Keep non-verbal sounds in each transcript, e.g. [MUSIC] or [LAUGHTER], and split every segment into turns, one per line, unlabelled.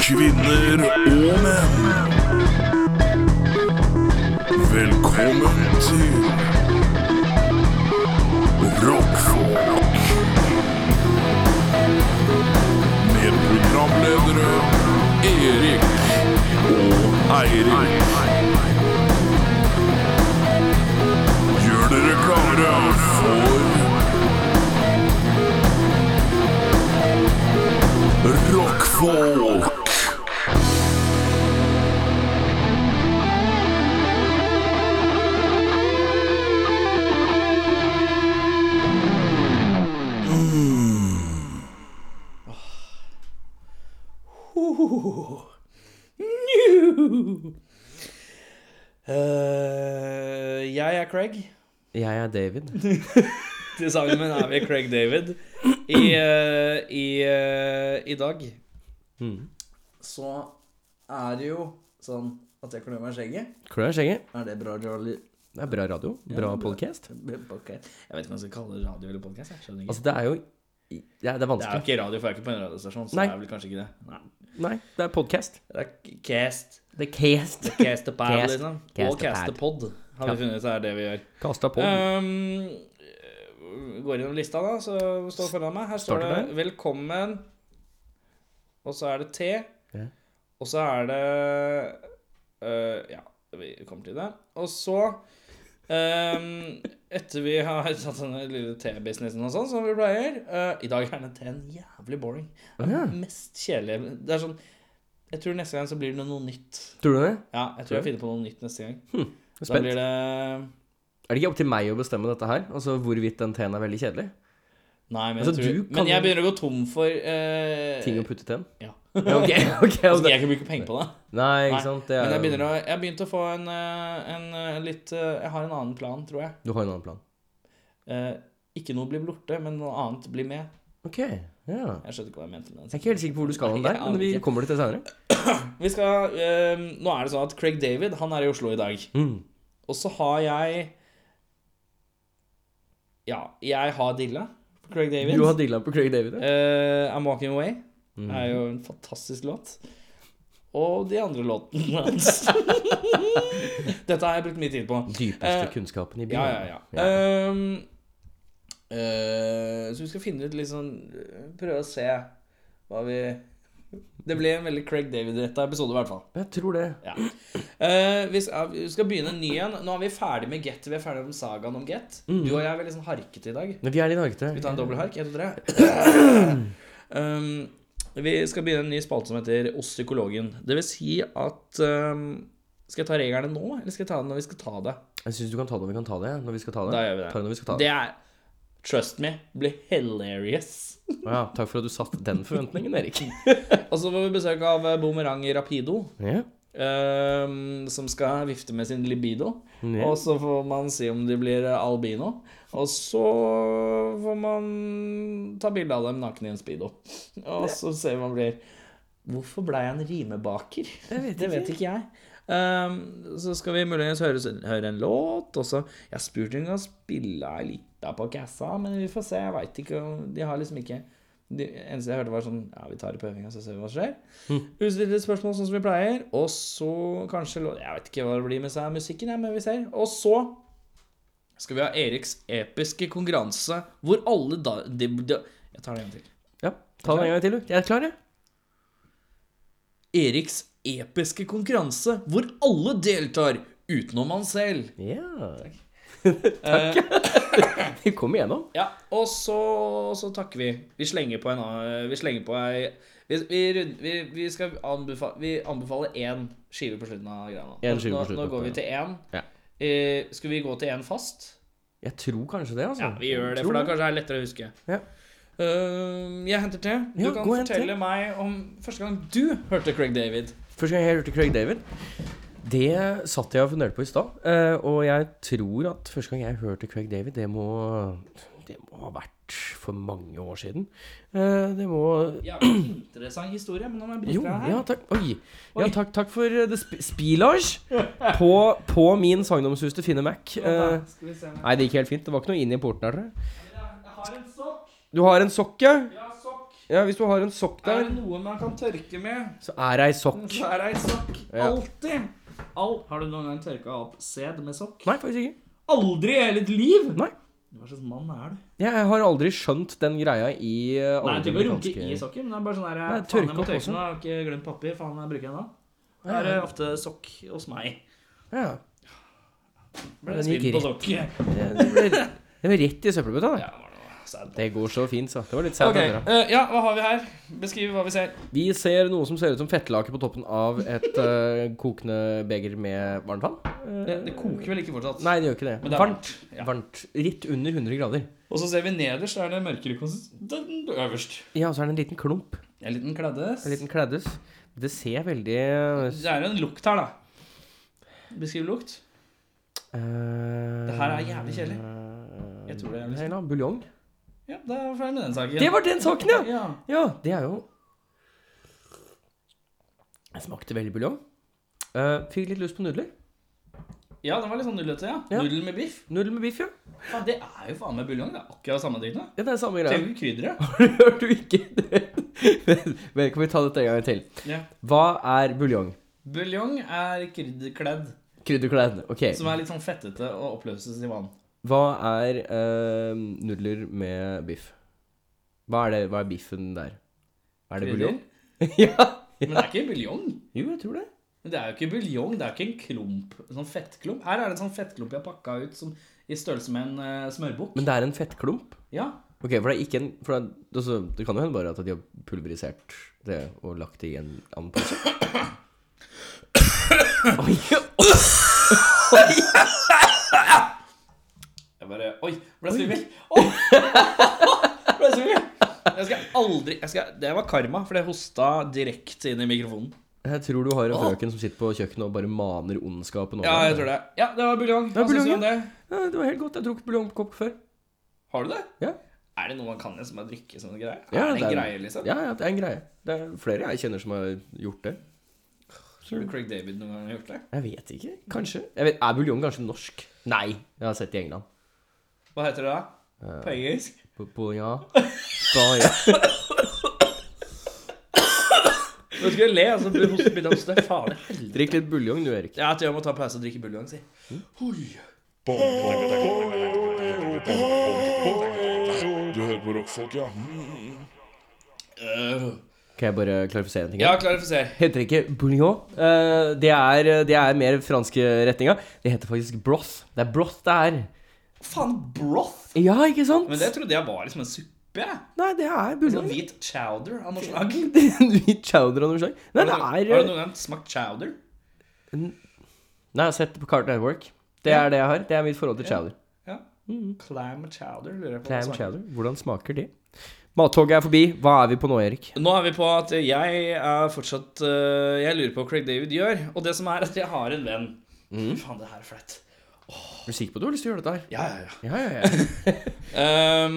kvinner og menn. Velkommen til Rockfolk. Med programledere Erik og Eirik. Gjør dere klare for Rockfolk.
Eh, jeg er Craig.
Jeg er David.
Til sangen min er vi Craig David. I, eh, i, eh, I dag
Mm.
så er det jo sånn at jeg klør meg i skjegget.
Klør i skjegget.
Er det bra jolly
Det er bra radio. Bra
Ja, bra.
podcast.
okay. Jeg vet ikke om jeg skal kalle det radio eller podkast. Jeg skjønner ikke.
Altså, det er jo ja, Det er
det er jo
vanskelig.
ikke radio, for jeg er ikke på en radiostasjon. Så
Nei.
det er vel kanskje ikke det. Nei.
Nei, det er podcast.
Det er k- cast.
The cast.
Cast a pad,
Cast.
liksom.
Cast
Og
a pad.
cast a pod, har vi
Ja.
funnet ut er det vi gjør.
Kasta på.
Um, eh, går gjennom lista, da, så står foran meg. Her står
Starter
det 'Velkommen', og så er det T.
Ja.
Og så er det øh, Ja, vi kommer til det. Og så um, Etter vi har tatt denne lille T-businessen og sånn, som vi pleier øh, I dag er den T-en jævlig boring. Den
Ja.
mest kjedelige Det er sånn Jeg tror neste gang så blir det noe nytt.
Tror du det?
Ja, jeg tror jeg finner på noe nytt neste gang.
Jeg er
Da
Spent.
blir det
Er det ikke opp til meg å bestemme dette her? Altså hvorvidt den teen er veldig kjedelig?
Nei, men,
Altså,
jeg, tror,
du kan
men jeg
jo-
begynner å gå tom for eh,
Ting å putte i teen?
Ja.
[LAUGHS] Ja, ok, ok.
[LAUGHS] Altså,
Altså,
jeg kan bruke penger på det.
nei, ikke sant. Det
Men jeg
er
begynner
jo
å Jeg har begynt å få en, eh, en eh, litt eh, Jeg har en annen plan, tror jeg.
Du har en annen plan.
Eh, ikke noe blir borte, men noe annet blir med.
Ok, ja.
Jeg skjønner ikke hva jeg mente med
Jeg er
den.
ikke helt sikker på hvor du skal hen
Nei,
der,
jeg
men vi
aner ikke.
kommer dit til senere.
Vi skal eh, Nå er det sånn at Craig David, han er i Oslo i dag.
Mm.
Og så har jeg Ja, jeg har dilla på Craig David.
Du har dilla på Craig David, ja.
Eh, I'm Walking Away
Mm.
er jo en fantastisk låt. Og de andre låtene [LAUGHS] hans. Dette har jeg brukt mye tid på.
Dypeste
Eh,
kunnskapen i byen.
Ja, ja, ja. Ehm, eh, så vi skal finne ut litt sånn Prøve å se hva vi [LAUGHS] Det ble en veldig Craig David-retta episode, i hvert fall.
Jeg tror det.
Ja. Eh, vi, skal, vi skal begynne en ny en. Nå er vi ferdig med Get. Vi er ferdig med sagaen om Get. Du og jeg er veldig sånn harkete i dag.
Men vi er litt harkete.
Vi tar en dobbelthark. En, to, tre.
[COUGHS]
um, vi skal begynne en ny spalte som heter Oss psykologen. Det vil si at um, Skal jeg ta reglene nå, eller skal jeg ta det når vi skal ta det?
Jeg syns du kan ta det når vi kan ta det. Når vi skal ta det.
Da gjør vi det.
Ta det når vi skal ta det.
Det er Trust me, blir hilarious. [LAUGHS]
Å Ja, takk for at du satte den forventningen, Erik.
Og så får vi besøk av eh, Boomerang Rapido,
Ja.
um, som skal vifte med sin libido.
Ja.
Og så får man si om de blir eh, albino. Og så får man ta bilde av dem naken i en speedo. [LAUGHS] Og så ser vi hva man blir. Hvorfor blei jeg en rimebaker? [LAUGHS] Det vet ikke jeg. Ehm, så skal vi muligens høre, høre en låt. Og så Jeg spurte om hun kan spille ei lita på kassa, men vi får se. Jeg veit ikke. om- De har liksom ikke det eneste jeg hørte, var sånn Ja, vi tar det på øvinga, så ser vi hva som skjer. Hm. Ustilte spørsmål sånn som vi pleier. Og så kanskje lå- Jeg vet ikke hva det blir med seg musikken, jeg, men vi ser. Og så skal vi ha Eriks episke konkurranse hvor alle da de, de, Jeg tar det en gang til.
ja. Ta det en gang til, du. Jeg er klar, jeg.
Eriks episke konkurranse hvor alle deltar, utenom han selv.
Ja. Takk. Eh. [LAUGHS] Vi kom igjennom.
Ja, og så, så takker vi. Vi slenger på en annen- Vi slenger på ei vi, vi, rund- vi, vi skal anbefale Vi anbefaler én skive på slutten av greia. nå.
En skive på
Nå-
slutten
Nå
av
går vi
greia.
til én.
Ja.
Eh, skal vi gå til én fast?
Jeg tror kanskje det, altså.
Ja, vi gjør det,
Tror
for da kanskje det er lettere å huske.
Ja.
Eh, jeg henter te. Du
Ja,
kan
gå og hent te.
fortelle meg om første gang du hørte Craig David.
Første gang jeg hørte Craig David, det satt jeg og funderte på i stad. eh, Og jeg tror at første gang jeg hørte Craig David, det må, det må ha vært for mange år siden. Eh, Det må
Ja, [CLEARS THROAT] interessant historie, men nå må jeg bryte
Jo,
deg her.
ja, takk. Oi. Ja,
Oi.
takk, takk for eh, det sp spilage på, på min sagnomsuste Finne Mac. Eh,
Skal vi se om jeg-
nei, det gikk helt fint. Det var ikke noe inn i porten her, tror jeg.
Jeg har en sokk.
Du har en sokke.
Ja, sokk.
Ja, hvis du har en sokk
Er
der,
det noe man kan tørke med,
så er det ei sokk.
så er det ei sokk.
Mm. Ja.
Alltid. Al har du noen gang tørka opp sæd med sokk?
Nei, faktisk ikke.
Aldri i hele ditt liv!
Nei.
Hva slags mann er du?
Jeg har aldri skjønt den greia i eh,
Nei,
alle
du
de
kan runke
amerikanske-
i sokken, men det er bare sånn der
Nei,
Faen,
tørke
jeg må
opp
tørke
også.
nå, jeg har ikke glemt papir. Faen, jeg bruker den da. Da er det ofte sokk hos meg.
Ja.
Ble
Den
det spinn
gikk
på
[LAUGHS]
sokk. Ja,
Det, det, ble, det ble rett i søppelbøtta. det.
det var noe sæd.
Det går så fint, så. Det var litt sært.
Ok, eh, ja, hva har vi her? Beskriv hva vi ser.
Vi ser noe som ser ut som fettlake på toppen av et eh, kokende beger med varmt vann. Eh,
Det, det koker vel ikke fortsatt?
Nei, det gjør ikke det.
Men det er
varmt.
varmt, ja.
varmt. Litt under 100 grader.
Og så ser vi nederst, der er det mørkere konsistens øverst.
Ja, og så er det en liten klump.
En liten kleddes.
En liten klædes. Det ser veldig eh,
Det er jo en lukt her, da. Beskriv lukt. Det her er jævlig kjedelig. Jeg tror det er jævlig
kjedelig. Buljong.
Ja, da er vi ferdig med den saken.
Det var den saken, ja!
ja.
Ja, det er jo Jeg smakte veldig buljong. Eh, fikk litt lyst på nudler.
Ja, den var litt sånn nullete, ja.
Ja.
Nudel med biff.
Nudler med biff, ja.
Ja, det er jo faen meg buljong. Det er akkurat samme dritten.
ja det er samme greia. [LAUGHS]
Trenger ikke krydderet.
Hørte du ikke [LAUGHS] det? Men kan vi ta dette en gang til?
Ja.
Hva er buljong?
Buljong er krydderkledd,
Krydderkledd. Ok.
som er litt sånn fettete og oppløses i vann.
Hva er eh, nudler med biff? Hva er, det, hva er biffen der? Er det buljong? ja.
Men det er ikke buljong.
Jo, jeg tror det.
Men Det er jo ikke buljong, det er jo ikke en klump. En sånn fettklump. Her er det en sånn fettklump jeg har pakka ut som, i størrelse med en uh, smørbukk.
Men det er en fettklump.
Ja.
Ok, for det er ikke en for det, er, altså, det kan jo hende bare at de har pulverisert det og lagt det i en annen pose. Oi, oi,
Jeg bare Oi, ble jeg [LAUGHS] svimmel? Oi. ble jeg svimmel? Jeg skal aldri jeg skal, Det var karma, for det hosta direkte inn i mikrofonen.
jeg tror du har en frøken som sitter på kjøkkenet og bare maner ondskapen over
Ja, jeg
deg.
tror det. Ja, det var buljong.
var
Hva syns du
buljong,
om det?
Ja, det var helt godt. Jeg har drukket buljongkopp før.
Har du det?
Ja.
Er det noe man kan som er drikke sånne greier?
Ja,
er det
det
en
er-
greie, liksom?
Ja, ja, det er en greie. Det er flere jeg kjenner som har gjort det.
Tror du Craig David noen gang har gjort det?
Jeg vet ikke. Kanskje. Jeg vet, er buljong kanskje norsk? Nei. Jeg har sett det i England.
Hva heter det da? På engelsk?
På, på [LAUGHS] ja. På, ja.
Nå skulle jeg le, altså, og så blir hosten begynner å hoste. Faen i helvete.
Drikk litt buljong du, Erik.
Ja, jeg tror jeg må ta pause og drikke buljong, si. Oi.
Du hører på rockfolk, ja? Mm.
Øh.
Kan jeg bare klarifisere en ting? her?
Ja, klarifiser.
Heter ikke bouillon. Eh, det, er, det er mer franske retninga. Det heter faktisk broth. Det er broth det er.
Faen, broth!
Ja, ikke sant?
Men det trodde jeg var liksom en suppe. jeg.
Nei, det er
Sånn
buljong.
hvit chowder av noe slag.
[LAUGHS] Det er en Hvit chowder av noe slag. Nei, det
Har
er eh,
du noen gang smakt chowder?
Nei, jeg har sett det på Cartoon Network. Det er det jeg har. Det er mitt forhold til chowder.
Ja. Clam chowder, lurer jeg på. hva
Mm. Clam
det smaker.
chowder. Hvordan smaker det? Mattoget er forbi. Hva er vi på nå, Erik?
Nå er vi på at jeg er fortsatt øh, Jeg lurer på hva Craig David gjør. Og det som er at jeg har en venn. Faen, det her er flaut.
Er du sikker på at du har lyst til å gjøre dette her?
Ja, ja, ja.
Mm. Ja, ja, ja.
Ehm,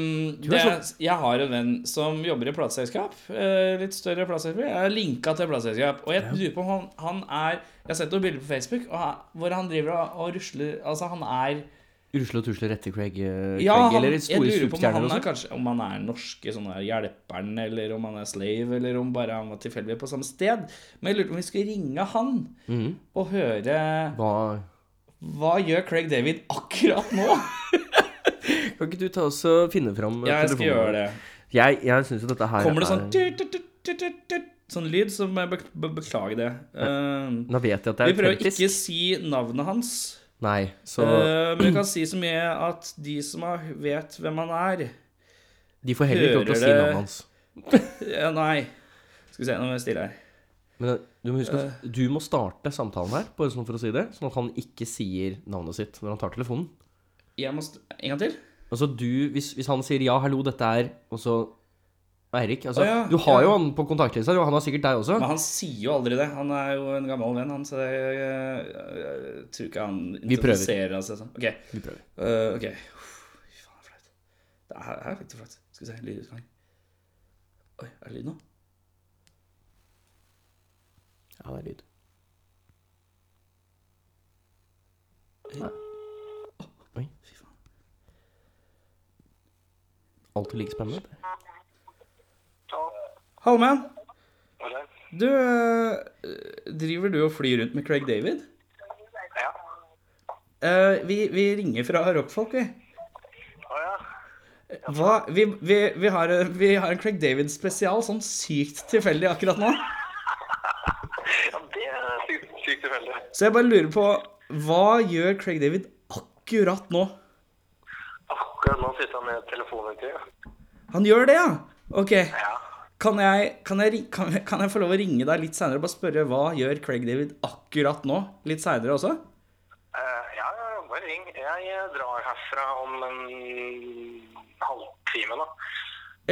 er sånn-
det, jeg har en venn som jobber i plateselskap. eh, litt større plateselskap. Jeg er linka til plateselskap. Og jeg lurer på om han, han er Jeg har sett noen bilder på Facebook og han, hvor han driver og, og rusler Altså, han er
Rusle og tusle rette Craig, eh, Craig
Ja, han,
eller
jeg
store
lurer på om
superstjerner
han
og
er
sånn?
kanskje Om han er norske sånn der hjelperen, eller om han er slave, eller om bare han var tilfeldig på samme sted. Men jeg lurte på om vi skulle ringe han
Mhm.
og høre
Hva
Hva gjør Craig David akkurat
[LAUGHS]
nå?
Kan ikke du ta oss og finne fram eh,
Jeg skal
telefonen?
gjøre det.
Jeg, jeg syns jo dette her
Kommer det sånn
er-
tut, tut, tut, tut, tut, tut, Sånn lyd, så må jeg bek- be beklage det. Eh,
Nå vet jeg at det
vi
er
prøver å
autentisk.
ikke si navnet hans,
Nei, så
eh, men vi kan si så mye at de som har- vet hvem han er
de får heller ikke lov til å
hører
si
det-
navnet hans.
eh, Nei. Skal vi se, nå må jeg stille her.
Men eh, du må huske at du må starte samtalen her, bare sånn for å si det, sånn at han ikke sier navnet sitt når han tar telefonen.
Jeg må st en gang til?
Altså du, hvis, hvis han sier ja, hallo, dette er Og så Eirik, altså
Å, ja,
Du har
ja.
jo han på kontaktlista, og han har sikkert deg også.
Men han sier jo aldri det. Han er jo en gammel venn, han, så jeg, jeg, jeg, jeg tror ikke han
Vi prøver.
identifiserer seg sånn. Ok.
Vi prøver.
Uh, ok. Uff, Fy faen, det er flaut. Det er, her er faktisk flaut. Skal vi se, lydutgang. Oi, er det lyd nå?
Ja, det er lyd. Oi.
Fy faen.
Alltid like spennende.
Ja,
Hallman, du eh, Driver du og flyr rundt med Craig David?
Ja.
Eh, vi, vi ringer fra rockfolk, vi. Eh,
Å ja.
Hva? Vi, vi, vi, har, eh, vi har en Craig David-spesial sånn sykt tilfeldig akkurat nå.
ja det er sykt, sykt tilfeldig.
Så jeg bare lurer på Hva gjør Craig David akkurat nå?
Akkurat nå sitter han med telefonintervju.
Han gjør det, ja? Ok.
Ja.
Kan jeg, kan jeg, ri- kan, kan jeg få lov å ringe deg litt seinere og bare spørre hva gjør Craig David akkurat nå? Litt seinere også?
Eh, ja, ja, bare ring. Jeg eh, drar herfra om en halvtime, da.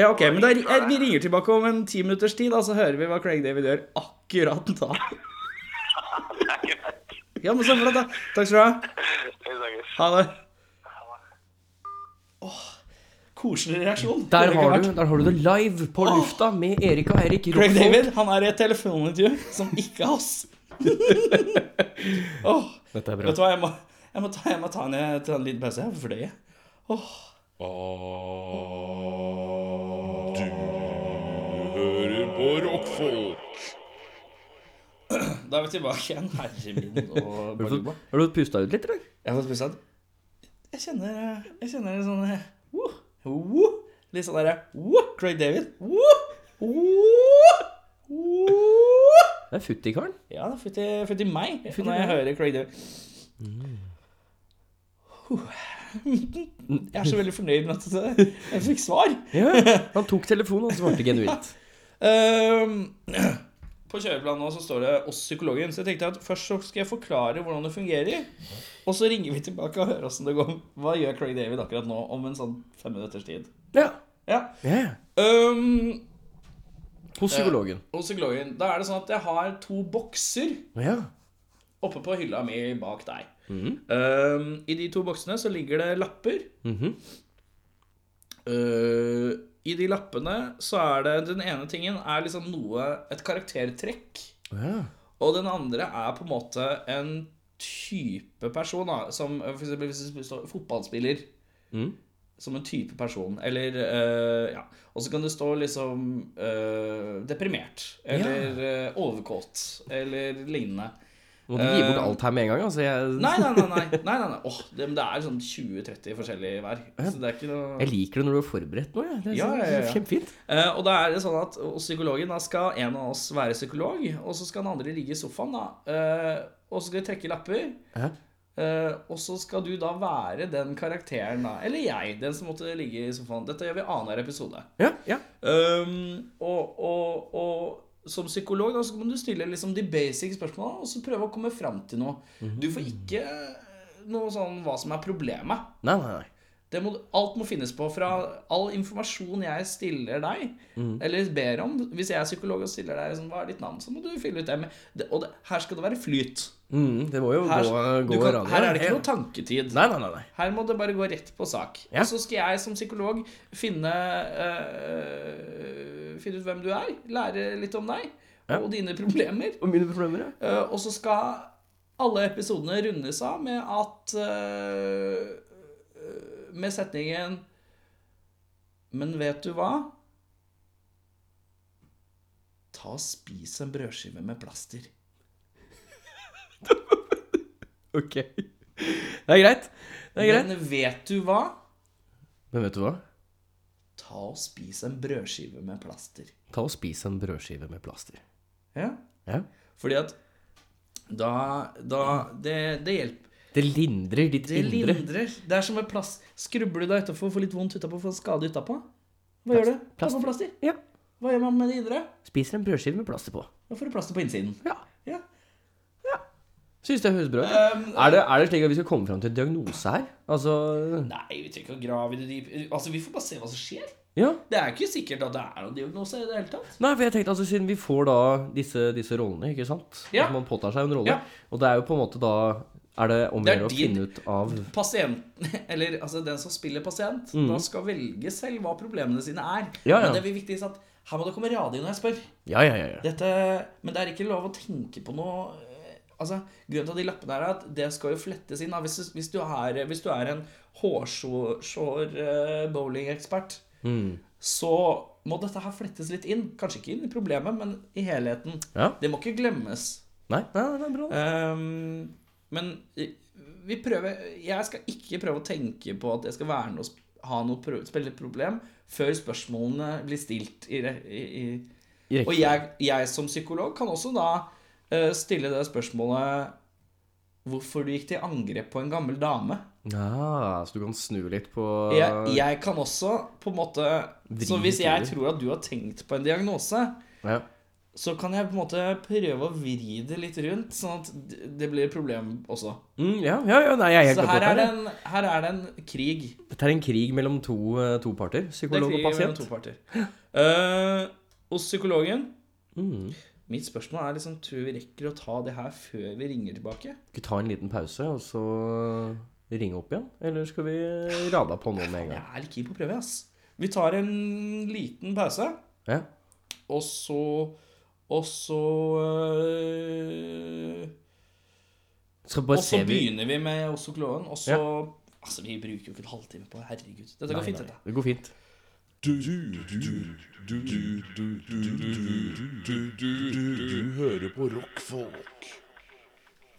Ja, ok, men da, ri- jeg, vi ringer tilbake om en ti minutters tid, da, så hører vi hva Craig David gjør akkurat [LAUGHS] da.
Det er greit.
Ja, men så flott, da. Takk skal du ha.
Vi snakkes.
Ha det. Åh, koselig reaksjon.
Der
Kunne ikke
har,
vært-
du, der har du det live på lufta med Erik og Eirik.
Craig
Rockfolk.
David han er i et telefonintervju som ikke er
[LAUGHS]
oss. Åh,
Dette er bra.
vet du hva, jeg må, jeg må, ta, jeg må ta, en, ta en liten pause. Jeg fløy.
Ah, Du hører på rockfolk.
Da er vi tilbake igjen. Herre min og
Har du
Baluba.
fått- har du pusta ut litt, eller?
Jeg har fått pussa. Jeg kjenner eh, Jeg kjenner en sånn eh, woo, woo, Litt sånn derre woo, Craig David. Woo, woo, woo.
Det er futt i karen.
Ja, det er fytti, fytti meg Mm. når jeg hører Craig David. [LAUGHS] Jeg er så veldig fornøyd med at jeg fikk svar.
Ja, [LAUGHS] han tok telefonen, han svarte genuint.
Ehm, på kjøreplanen nå så står det 'oss psykologen', så jeg tenkte at først så skal jeg forklare hvordan det fungerer. Og så ringer vi tilbake og hører åssen det går. Hva gjør Craig David akkurat nå, om en sånn fem minutters tid?
Ja.
Ja. Eh,
ja.
Ehm,
Hos psykologen.
og psykologen. Da er det sånn at jeg har to bokser
Ja.
oppe på hylla mi bak deg. Ehm, I de to boksene så ligger det lapper.
Mhm.
Eh, I de lappene så er det Den ene tingen er liksom noe Et karaktertrekk.
ja.
Og den andre er på en måte en type person, da. Som eh, for eksempel hvis det står fotballspiller.
Mhm.
Som en type person. Eller eh, Ja. Og så kan det stå liksom eh, deprimert. Eller eh, overkåt. Eller lignende.
Måtte ikke gi bort alt her med en gang. Altså, jeg,
Nei, nei, nei. nei, nei, nei, nei. Åh, det, men det er sånn 20-30 forskjellige hver. Så det er ikke noe
jeg liker det når du er forberedt nå. Jeg. Det er
Ja,
så-
ja, ja, ja.
kjempefint.
Eh, og da er det sånn at hos psykologen da skal en av oss være psykolog, og så skal den andre ligge i sofaen, da. Eh, og så skal vi trekke lapper.
Ja.
Eh, og så skal du da være den karakteren, da. Eller jeg, den som måtte ligge i sofaen. Dette gjør vi i annenhver episode.
Ja, ja.
Um, og, og, og som psykolog da, så kan du stille liksom de basic spørsmålene og så prøve å komme fram til noe.
Mhm.
Du får ikke noe sånn hva som er problemet.
Nei, nei, nei.
Det må, alt må finnes på fra all informasjon jeg stiller deg,
Mhm.
eller ber om. Hvis jeg er psykolog og stiller deg sånn, hva er ditt navn, så må du fylle ut det. Med, det og det, her skal det være flyt.
Mm, det må jo
Her,
gå,
du
gå
kan,
radio.
her er det ikke noe
Ja.
tanketid.
Nei, nei, nei. nei.
Her må det bare gå rett på sak.
Ja.
Og så skal jeg som psykolog finne, øh, finne ut hvem du er, lære litt om deg
Ja.
og dine problemer.
Og mine problemer, ja.
Eh, og så skal alle episodene rundes av med at eh, eh, Med setningen Men vet du hva? Ta og spis en brødskive med plaster.
[LAUGHS] Ok. Det er greit. Det er greit.
Men vet du hva?
Men vet du hva?
Ta og spis en brødskive med plaster.
Ta og spis en brødskive med plaster.
Ja.
Ja.
Fordi at da, da Det, det hjelper.
Det lindrer ditt
Det
indre.
lindrer. Det er som en plast. Skrubber du deg utafor, får litt vondt utapå, får en skade utapå. Hva gjør du? Ta
Plaster.
på plaster.
Ja.
Hva gjør man med det indre?
Spiser en brødskive med plaster på.
Da får du plaster på innsiden.
Ja.
Ja.
Syns det høres bra ut.
Um,
er, det, er det slik at vi skal komme fram til en diagnose her? Altså
Nei, vi trenger ikke å grave i det dype. Altså, Vi får bare se hva som skjer.
Ja.
Det er ikke sikkert at det er noen diagnose i det hele tatt.
Nei, for jeg tenkte altså siden vi får da disse, disse rollene, ikke sant?
Ja.
At man påtar seg en rolle.
Ja.
Og det er jo på en måte da Er det om å
Det er
gjøre å
din-
finne ut av
Pasienten, [LAUGHS] eller altså den som spiller pasient, da skal velge selv hva problemene sine er.
Mm. Ja, ja.
Men det blir viktig at her må det komme radio når jeg spør.
Ja, ja, ja. ja.
Dette, men det er ikke lov å tenke på noe eh, Altså, Grunnen til at de lappene her er at det skal jo flettes inn. Da. Hvis, du- hvis, du er, hvis du er en hårsår eh, bowlingekspert, så må dette her flettes litt inn. Kanskje ikke inn i problemet, men i helheten.
Ja.
Det må ikke glemmes.
Nei, nei, nei, det er bra.
Ehm, men i- vi prøver Jeg skal ikke prøve å tenke på at jeg skal være noe, sp- ha noe pro- spille et problem før spørsmålene blir stilt. I, re- i, i.
I
Og jeg, jeg som psykolog kan også da eh, stille det spørsmålet Hvorfor du gikk til angrep på en gammel dame?
Ja, så du kan snu litt på
Jeg, jeg kan også på en måte Så
Vri
hvis jeg
historier.
tror at du har tenkt på en diagnose,
Ja.
så kan jeg på en måte prøve å vri det litt rundt, sånn at d- det blir et problem også.
Mm, ja, ja, ja, nei, jeg er helt
Så
med på
her
dette
er, det
her, jeg.
en, her er det en krig.
Dette er en krig mellom to, eh, to parter.
Det er
Psykolog
krig
og
mellom
pasient.
to parter. Eh, hos psykologen
Mm.
Mitt spørsmål er liksom Tror vi rekker å ta det her før vi ringer tilbake?
Skal vi ta en liten pause, og så ringe opp igjen? Eller skal vi rade på nå med
Jeg
en gang?
er litt keen på å prøve, ass. Vi tar en liten pause,
Ja.
og så Og så eh,
Skal
Og
bare
så
se vi
begynner vi med hos psykologen, og så Altså, vi bruker jo ikke en halvtime på det. Herregud. Dette går
Nei,
fint,
nei,
dette.
Det går fint.
Du, du, du, du, du, du, du, du, du, du, du, du hører på rockfolk.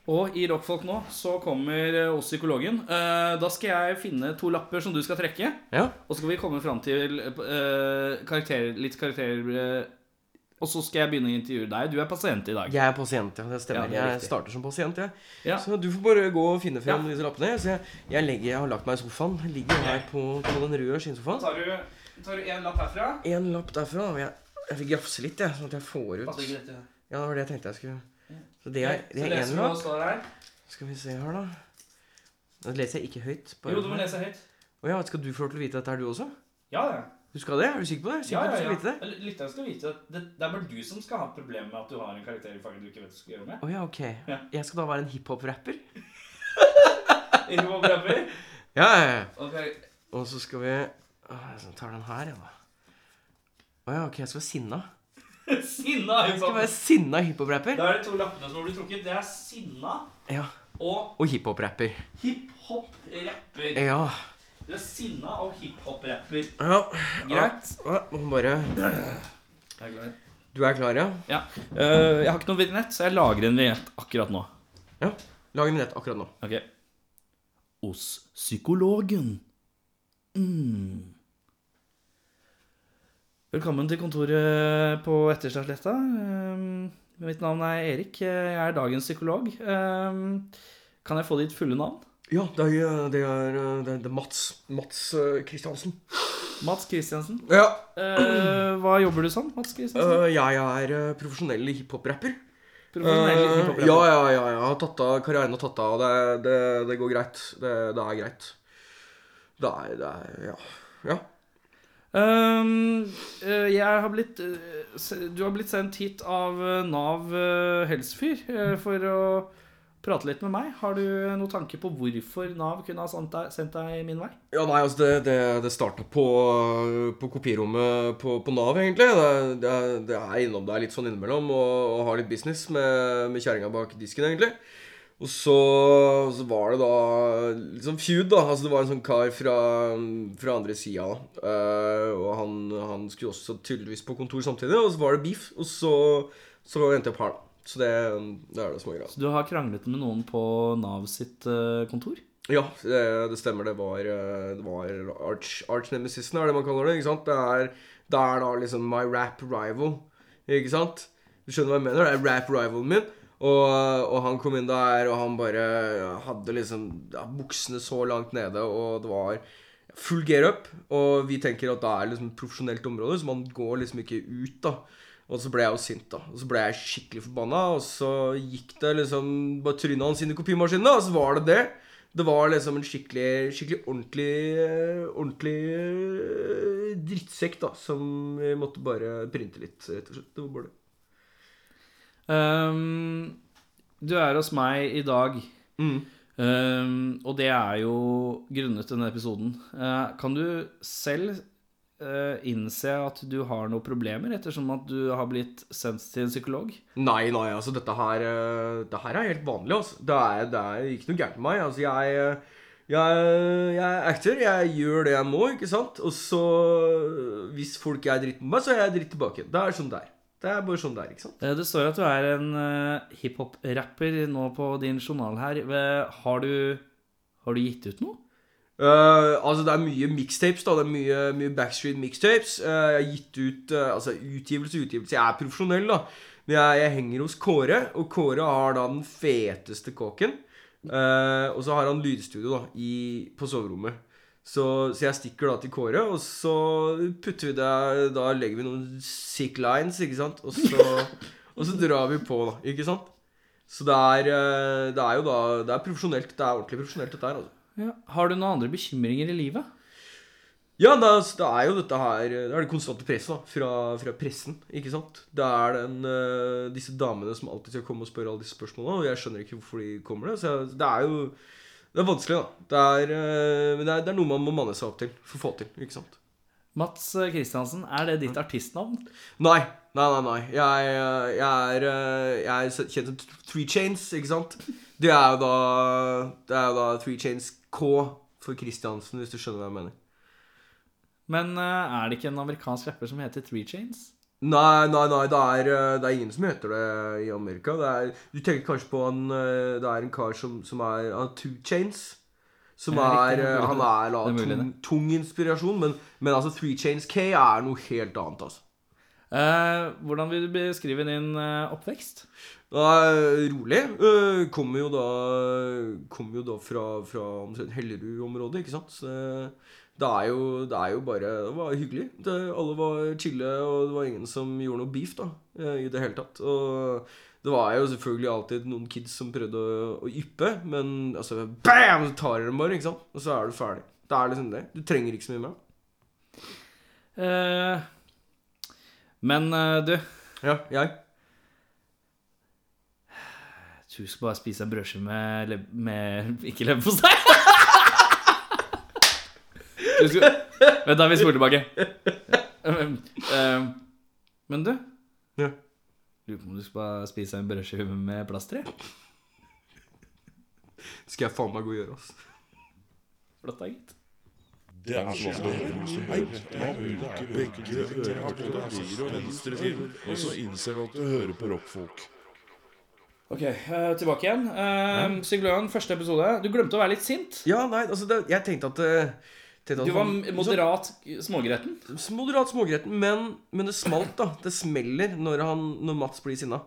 Og i Rockfolk nå så kommer eh, oss psykologen. Eh, da skal jeg finne to lapper som du skal trekke.
Ja.
Og så skal vi komme fram til eh, karakterer, litt karakterer eh, Og så skal jeg begynne å intervjue deg. Du er pasient i dag.
Jeg er pasient, ja. Det
Ja,
stemmer.
det er
jeg
riktig.
starter som pasient, jeg.
Ja.
Så du får bare gå og finne frem
Ja.
disse lappene. Så jeg, jeg, legger, jeg har lagt meg i sofaen. Jeg ligger her på, på den røde skinnsofaen.
Tar, du, tar du en lapp herfra?
En lapp derfra. og Jeg, jeg vil grafse litt, jeg, sånn at jeg får ut
Passer ikke dette?
Ja, det var det jeg tenkte jeg skulle Så det er, det
Så
er
leser
en
du hva
lapp.
det står her.
Skal vi se her, da. Da leser jeg ikke høyt. bare-
Jo, du må lese høyt.
Å ja, skal du få lov til å vite dette, her du også?
Ja, ja.
Du skal det? Er du sikker på det?
ja,
Sikker på at du skal
ja,
vite det?
ja. Lytteren skal vite at det, det er bare du som skal ha problemer med at du har en karakter i fanget du ikke vet hva du skal gjøre med. [LAUGHS]
Å ja, ok.
Ja.
Jeg skal da være en hiphop-rapper?
Ikke noe problem.
Ja, ja, ja.
Okay.
Og så skal vi Åh, Jeg tar den her, ja, da. Å ja, ok. Jeg skal være sinna.
Sinna!
Jeg skal være sinna hiphop-rapper.
Da er det to lappene som har blitt trukket. Det er sinna
Ja.
og
Og hiphop-rapper.
hiphop-rapper.
Ja.
Det er sinna og hiphop-rapper.
ja.
Greit.
Ja, må bare Du er klar, ja?
Ja. Eh, jeg har ikke noe vignett, så jeg lager en vignett akkurat nå.
Ja. Lag en minett akkurat nå.
Ok. Hos psykologen. Mm. Velkommen til kontoret på Etterstadsletta. Um, mitt navn er Erik. Jeg er dagens psykolog. Um, kan jeg få ditt fulle navn?
Ja, det er, eh, det er, det er, det er Mats. Mats eh, Kristiansen.
Mats Kristiansen.
Ja.
Eh, hva jobber du som, Mats Kristiansen?
eh, jeg er eh, profesjonell hiphop-rapper.
Profesjonell
Eh,
hiphop-rapper.
ja, ja, ja. Jeg har tatt av karrieren og tatt av. Det, det, det går greit. Det, det er greit. Det er, det er Ja. ja.
Ehm, eh, jeg har blitt eh, se- Du har blitt sendt hit av eh, Nav eh, Helsefyr eh, for å prate litt med meg. Har du noen tanke på hvorfor Nav kunne ha sendt deg, sendt deg min vei?
Ja, nei, altså, det, det, det starta på, på kopirommet på, på Nav, egentlig. Det, det, det er innom deg litt sånn innimellom og, og har litt business med, med kjerringa bak disken, egentlig. Og så, så var det da litt sånn feud, da. Altså, det var en sånn kar fra, fra andre sida. da. Eh, og han, han skulle også tydeligvis på kontor samtidig, og så var det beef. Og så, så endte jeg opp her, da. Så det, det er det som er greia.
Du har kranglet med noen på Nav sitt eh, kontor?
Ja, det, det stemmer. Det var, eh, det var arch, arch-nemesisen, er det man kaller det. ikke sant? Det er, det er da liksom my rap rival, ikke sant? Du skjønner hva jeg mener? Det er rap-rivalen min. Og, og han kom inn der, og han bare hadde liksom ja, buksene så langt nede, og det var full gear up. Og vi tenker at det er liksom et profesjonelt område, så man går liksom ikke ut, da. Og så ble jeg jo sint, da. Og så ble jeg skikkelig forbanna, og så gikk det liksom bare trynet hans inn i kopimaskinen, da, og så var det det. Det var liksom en skikkelig, skikkelig ordentlig, eh, ordentlig eh, drittsekk, da, som vi måtte bare printe litt, rett og slett. Det var bare det.
Ehm, du er hos meg i dag.
Mm.
Ehm, og det er jo grunnet denne episoden. Eh, kan du selv eh, innse at du har noen problemer, ettersom at du har blitt sendt til en psykolog?
Nei, nei, altså dette her eh, Det her er helt vanlig, altså. Det er, det er ikke noe gærent med meg. Altså, jeg, eh, Jeg, jeg er actor, jeg gjør det jeg må, ikke sant? Og så Hvis folk er dritt med meg, så er jeg dritt tilbake. Da er det sånn der. Det er bare sånn der, ikke sant?
Eh, Det står at du er en eh, hiphop-rapper nå på din journal her. Eh, Har du, har du gitt ut noe?
Eh, altså, det er mye mixtapes, da. Det er mye, mye Backstreet mixtapes. Eh, jeg har gitt ut eh, Altså, utgivelse, utgivelse. Jeg er profesjonell, da. Men jeg, jeg henger hos Kåre, og Kåre har da den feteste kåken. Eh, og så har han lydstudio da i, på soverommet. Så, så jeg stikker da til Kåre, og så putter vi det Da legger vi noen sick lines, ikke sant? Og så, og så drar vi på, da. Ikke sant? Så det er, eh, det er jo da Det er profesjonelt. Det er ordentlig profesjonelt, dette her, altså.
Ja. Har du noen andre bekymringer i livet?
Ja, det er, det er jo dette her Det er det konstante presset da fra, fra pressen, ikke sant? Det er den, eh, disse damene som alltid skal komme og spørre alle disse spørsmålene, og jeg skjønner ikke hvorfor de kommer det. Så jeg, det er jo Det er vanskelig, da. Det er, eh, men det er, det er noe man må manne seg opp til for å få til, ikke sant?
Mats Kristiansen, er det ditt artistnavn?
Nei. Nei, nei, nei. Jeg, eh, jeg, er, eh, jeg er kjent som Three Chains, ikke sant? Det er jo da, det er jo da Three Chains K for Christiansen, hvis du skjønner hva jeg mener.
Men eh, er det ikke en amerikansk rapper som heter Three Chains?
Nei, nei, nei, det er, eh, det er ingen som heter det i Amerika. Det er, du tenker kanskje på han eh, Det er en kar som, som er Han er Two Chains. Som
Ja,
er,
riktig, det er mulig
eh, Han
det.
er da
Det er mulig
tung, tung inspirasjon, men, men altså Three Chains K er noe helt annet, altså.
Eh, hvordan vil du beskrive din eh, oppvekst?
Da er rolig. eh, Kommer jo da Kommer jo da fra, fra omtrent Hellerud-området, ikke sant. Så eh, det er, jo, det er jo bare Det var hyggelig. Det, alle var chille, og det var ingen som gjorde noe beef da eh, i det hele tatt. Og det var jo selvfølgelig alltid noen kids som prøvde å, å yppe, men altså bam, så tar de dem bare, ikke sant. Og så er du ferdig. Det er liksom det. Du trenger ikke så mye mer.
Eh, men eh, du,
Ja, jeg.
du skal bare spise en brødskive med, leb- med Ikke leverpostei! Du skal- Vent, da, vi spoler tilbake. Eh, eh, men du
Ja.
Lurer på om du skal bare spise en brødskive med plaster i?
Skal jeg faen meg gå og gjøre, altså.
Flott, da, gitt.
Det er så spennende som hører. Man bruker begge ører på det høyre og venstre til, og så innser du at du hører på rockfolk.
Ok, eh, tilbake igjen. Uh, første episode. Du glemte å være litt sint.
Ja, nei, altså det, jeg tenkte at eh, tenkte at
Du var
man-
moderat smågretten.
Moderat smågretten, men, men det smalt, da. Det smeller når, han, når Mats blir sinna.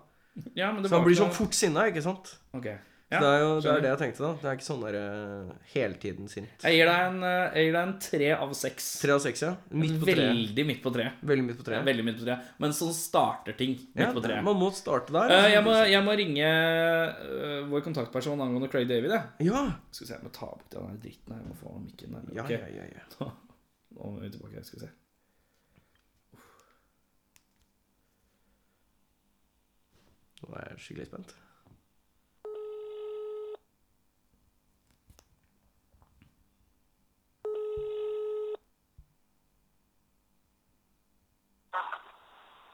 Ja, men det
Så han
var
blir
ikke
sånn fort sinna, ikke sant?
noe- Ok.
Så
Ja,
det er jo det,
skjønner.
er det jeg tenkte, da. Det er ikke sånn der eh, hele tiden sint.
Jeg gir deg en, eh, jeg gir deg en tre av seks.
Tre av seks, ja. Midt på treet.
Veldig midt på treet.
Veldig midt på
Ja,
treet.
Veldig midt på treet. Men sånn starter ting midt
Ja,
på treet.
man må starte der.
Eh,
altså.
jeg, må, jeg må ringe eh, vår kontaktperson angående Craig David. Jeg.
Ja.
Skal vi se, jeg må ta bort den der dritten her. Jeg må få av mikken der.
Ja,
Ok,
ja, ja, ja.
Nå er vi tilbake. Skal vi se.
Nå er jeg skikkelig spent.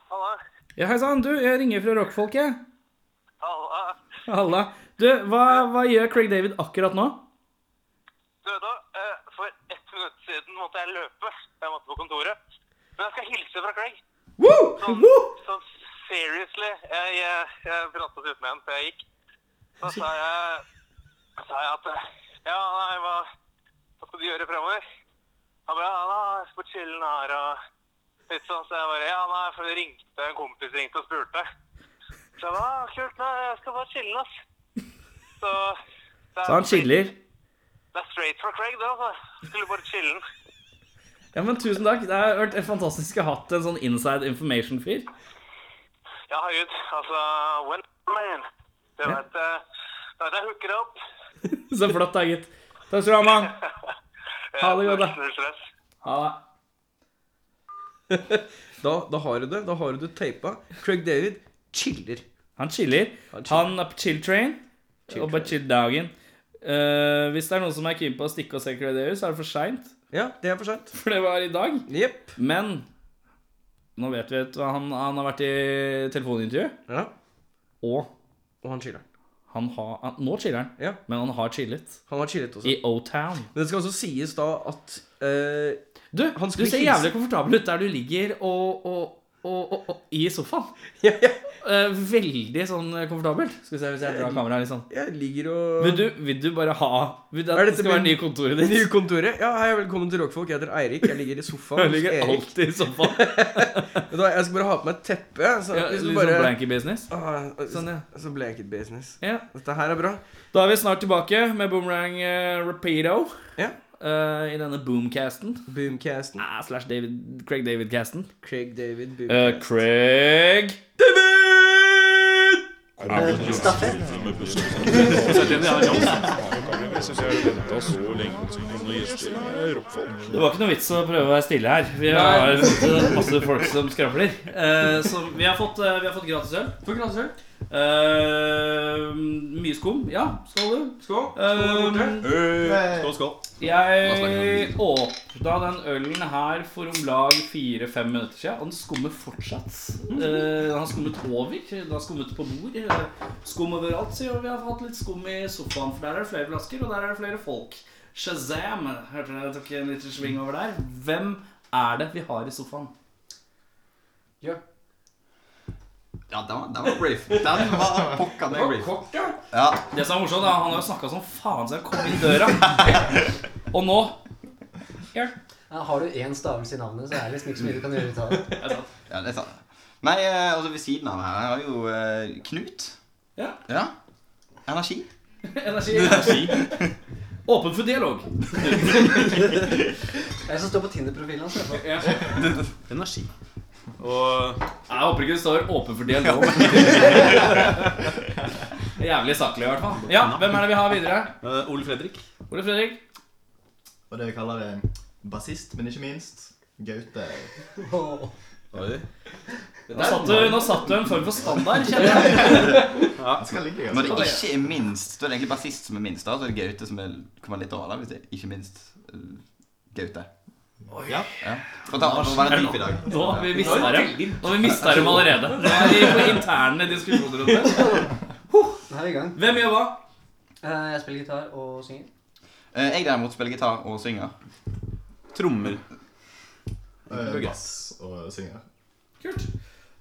Halla.
Ja, Hei sann, du. Jeg ringer fra rockfolket.
Halla.
Halla. Du, hva, hva gjør Craig David akkurat nå?
Du, da, eh, for ett minutt siden måtte jeg løpe. Jeg måtte på kontoret. Men jeg skal hilse fra Craig. Sånn, sånn seriously. Jeg, jeg, jeg pratet ut med ham før jeg gikk. Så sa jeg, sa jeg at eh, Ja, nei, hva, hva skal du gjøre fremover? Han bare Ja, nei, jeg skal på chillen her og litt sånn. Så jeg bare Ja, nei, for det ringte en kompis ringte og spurte. Så jeg bare «Ah, Kult, nei, jeg skal bare chille, ass. Så, det er-
Så han chiller.
Det er straight fra Craig, det, altså. Skulle bare chille'n.
Ja, men tusen takk. Det har vært fantastisk å ha hatt en sånn inside information-fyr.
Ja, herregud. Altså, when man. Du vet, eh, du vet jeg hooker opp.
Så flott, da, gitt. Takk skal du ha, mann.
Ha
det godt, da.
Stress.
Ha det.
Da, da har du det. Da har du det teipa. Craig David chiller.
Han chiller.
Han chiller.
Han er på chill train. og bare chill dagen. Eh, hvis det er noen som er keen på å stikke og se Craig Davis, så er det for seint. [LAUGHS]
Ja, det er for seint.
For det var i dag.
Jepp.
Men nå vet vi at han, han har vært i telefonintervju,
Ja.
og
Og han chiller.
Han har, han, nå chiller han,
Ja.
men han har chillet.
Han har chillet også.
I O-Town.
Men det skal også sies da at eh,
[LAUGHS]
Du,
Han
du
skulle
ser
hilse.
jævlig komfortabel ut der du ligger og, og, og, og, og i sofaen.
ja, ja,
Eh, veldig sånn komfortabelt. Skal vi se hvis jeg drar kameraet litt sånn.
Jeg ligger og
Vil du, vil du bare ha Vil du at
Er
det
dette
skal være
min-
nye kontoret
Nye
ditt?
kontoret. Ja, hei, velkommen til Rockfolk. Jeg heter Eirik. Jeg ligger i sofaen
Jeg
hos
ligger
Erik.
alltid i sofaen.
Vet du hva, Jeg skal bare ha på meg et teppe. Så
Ja,
hvis du
litt sånn
bare
blanky business.
Ah,
Sånn, ja.
Så blanket business.
Ja.
Dette her er bra.
Da er vi snart tilbake med Boomerang eh, Rapido.
Ja.
Eh, I denne boomcasten.
Boomcasten.
Ah, slash David, Craig David-casten.
Craig David
Eh,
Boomcast.
Craig
Jeg synes jeg har ventet så lenge på noen gjester. Det er rockfolk.
Det var ikke noe vits å prøve å være stille her. Vi har fått masse folk som skravler. Eh, så vi har fått, eh, vi har fått gratis øl.
Få glassøl.
Eh, mye skum. Ja, skål, du.
Skål. Skål der
Eh,
borte.
Skål, skål.
jeg åpna den ølen her for om lag fire-fem minutter siden, og den skummer fortsatt.
Mm.
Eh, den har skummet over, den har skummet på bord. eh, Skum overalt, sier vi. Vi har hatt litt skum i sofaen, for der er det flere flasker, og der er det flere folk. Shazam! Hørte dere jeg tok en liten sving over der? Hvem er det vi har i sofaen?
Ja, den var, den var [LAUGHS] brief. Den var pokka meg brief.
Kort, ja.
Ja.
Det som er morsomt, er at han har jo snakka som faen siden han kom inn
[LAUGHS]
døra. Og nå
Ja, har du én stavelse i navnet, så er det liksom ikke så mye du kan gjøre ut av det.
ja, det er sant. Nei, eh, altså ved siden av her jeg har jo eh, Knut.
Ja.
ja. Energi.
Energi. [LAUGHS] energi. Åpen for dialog.
Det er som står på Tinder-profilen hans. i hvert fall.
[LAUGHS]
Energi.
Jeg håper ikke det står 'åpen for [LAUGHS] dialog'. Jævlig saklig, i hvert fall. Ja, Hvem er det vi har videre?
Ole Fredrik.
Eh, Ole Fredrik?
Og det vi kaller eh, bassist, men ikke minst Gaute.
Oi.
Nå satt, du, nå satt du en form for standard, kjenner jeg.
Han skal ligge
Når det
altså.
ikke er minst, da er det egentlig bassist som er minst. da, Så er det Gaute som er, kommer litt over der, hvis det er ikke minst eh, Gaute.
Ja.
Ja. For, da, for å være dyp i dag.
Nå har vi mista dem. Nå har vi mistet dem allerede. Nå er vi på interne diskusjoner rundt det.
Da er vi i gang.
Hvem gjør hva?
Eh, Jeg spiller gitar og synger.
Eh, Jeg derimot spiller gitar og synger. Trommer.
Eh, Bass og synger.
Kult.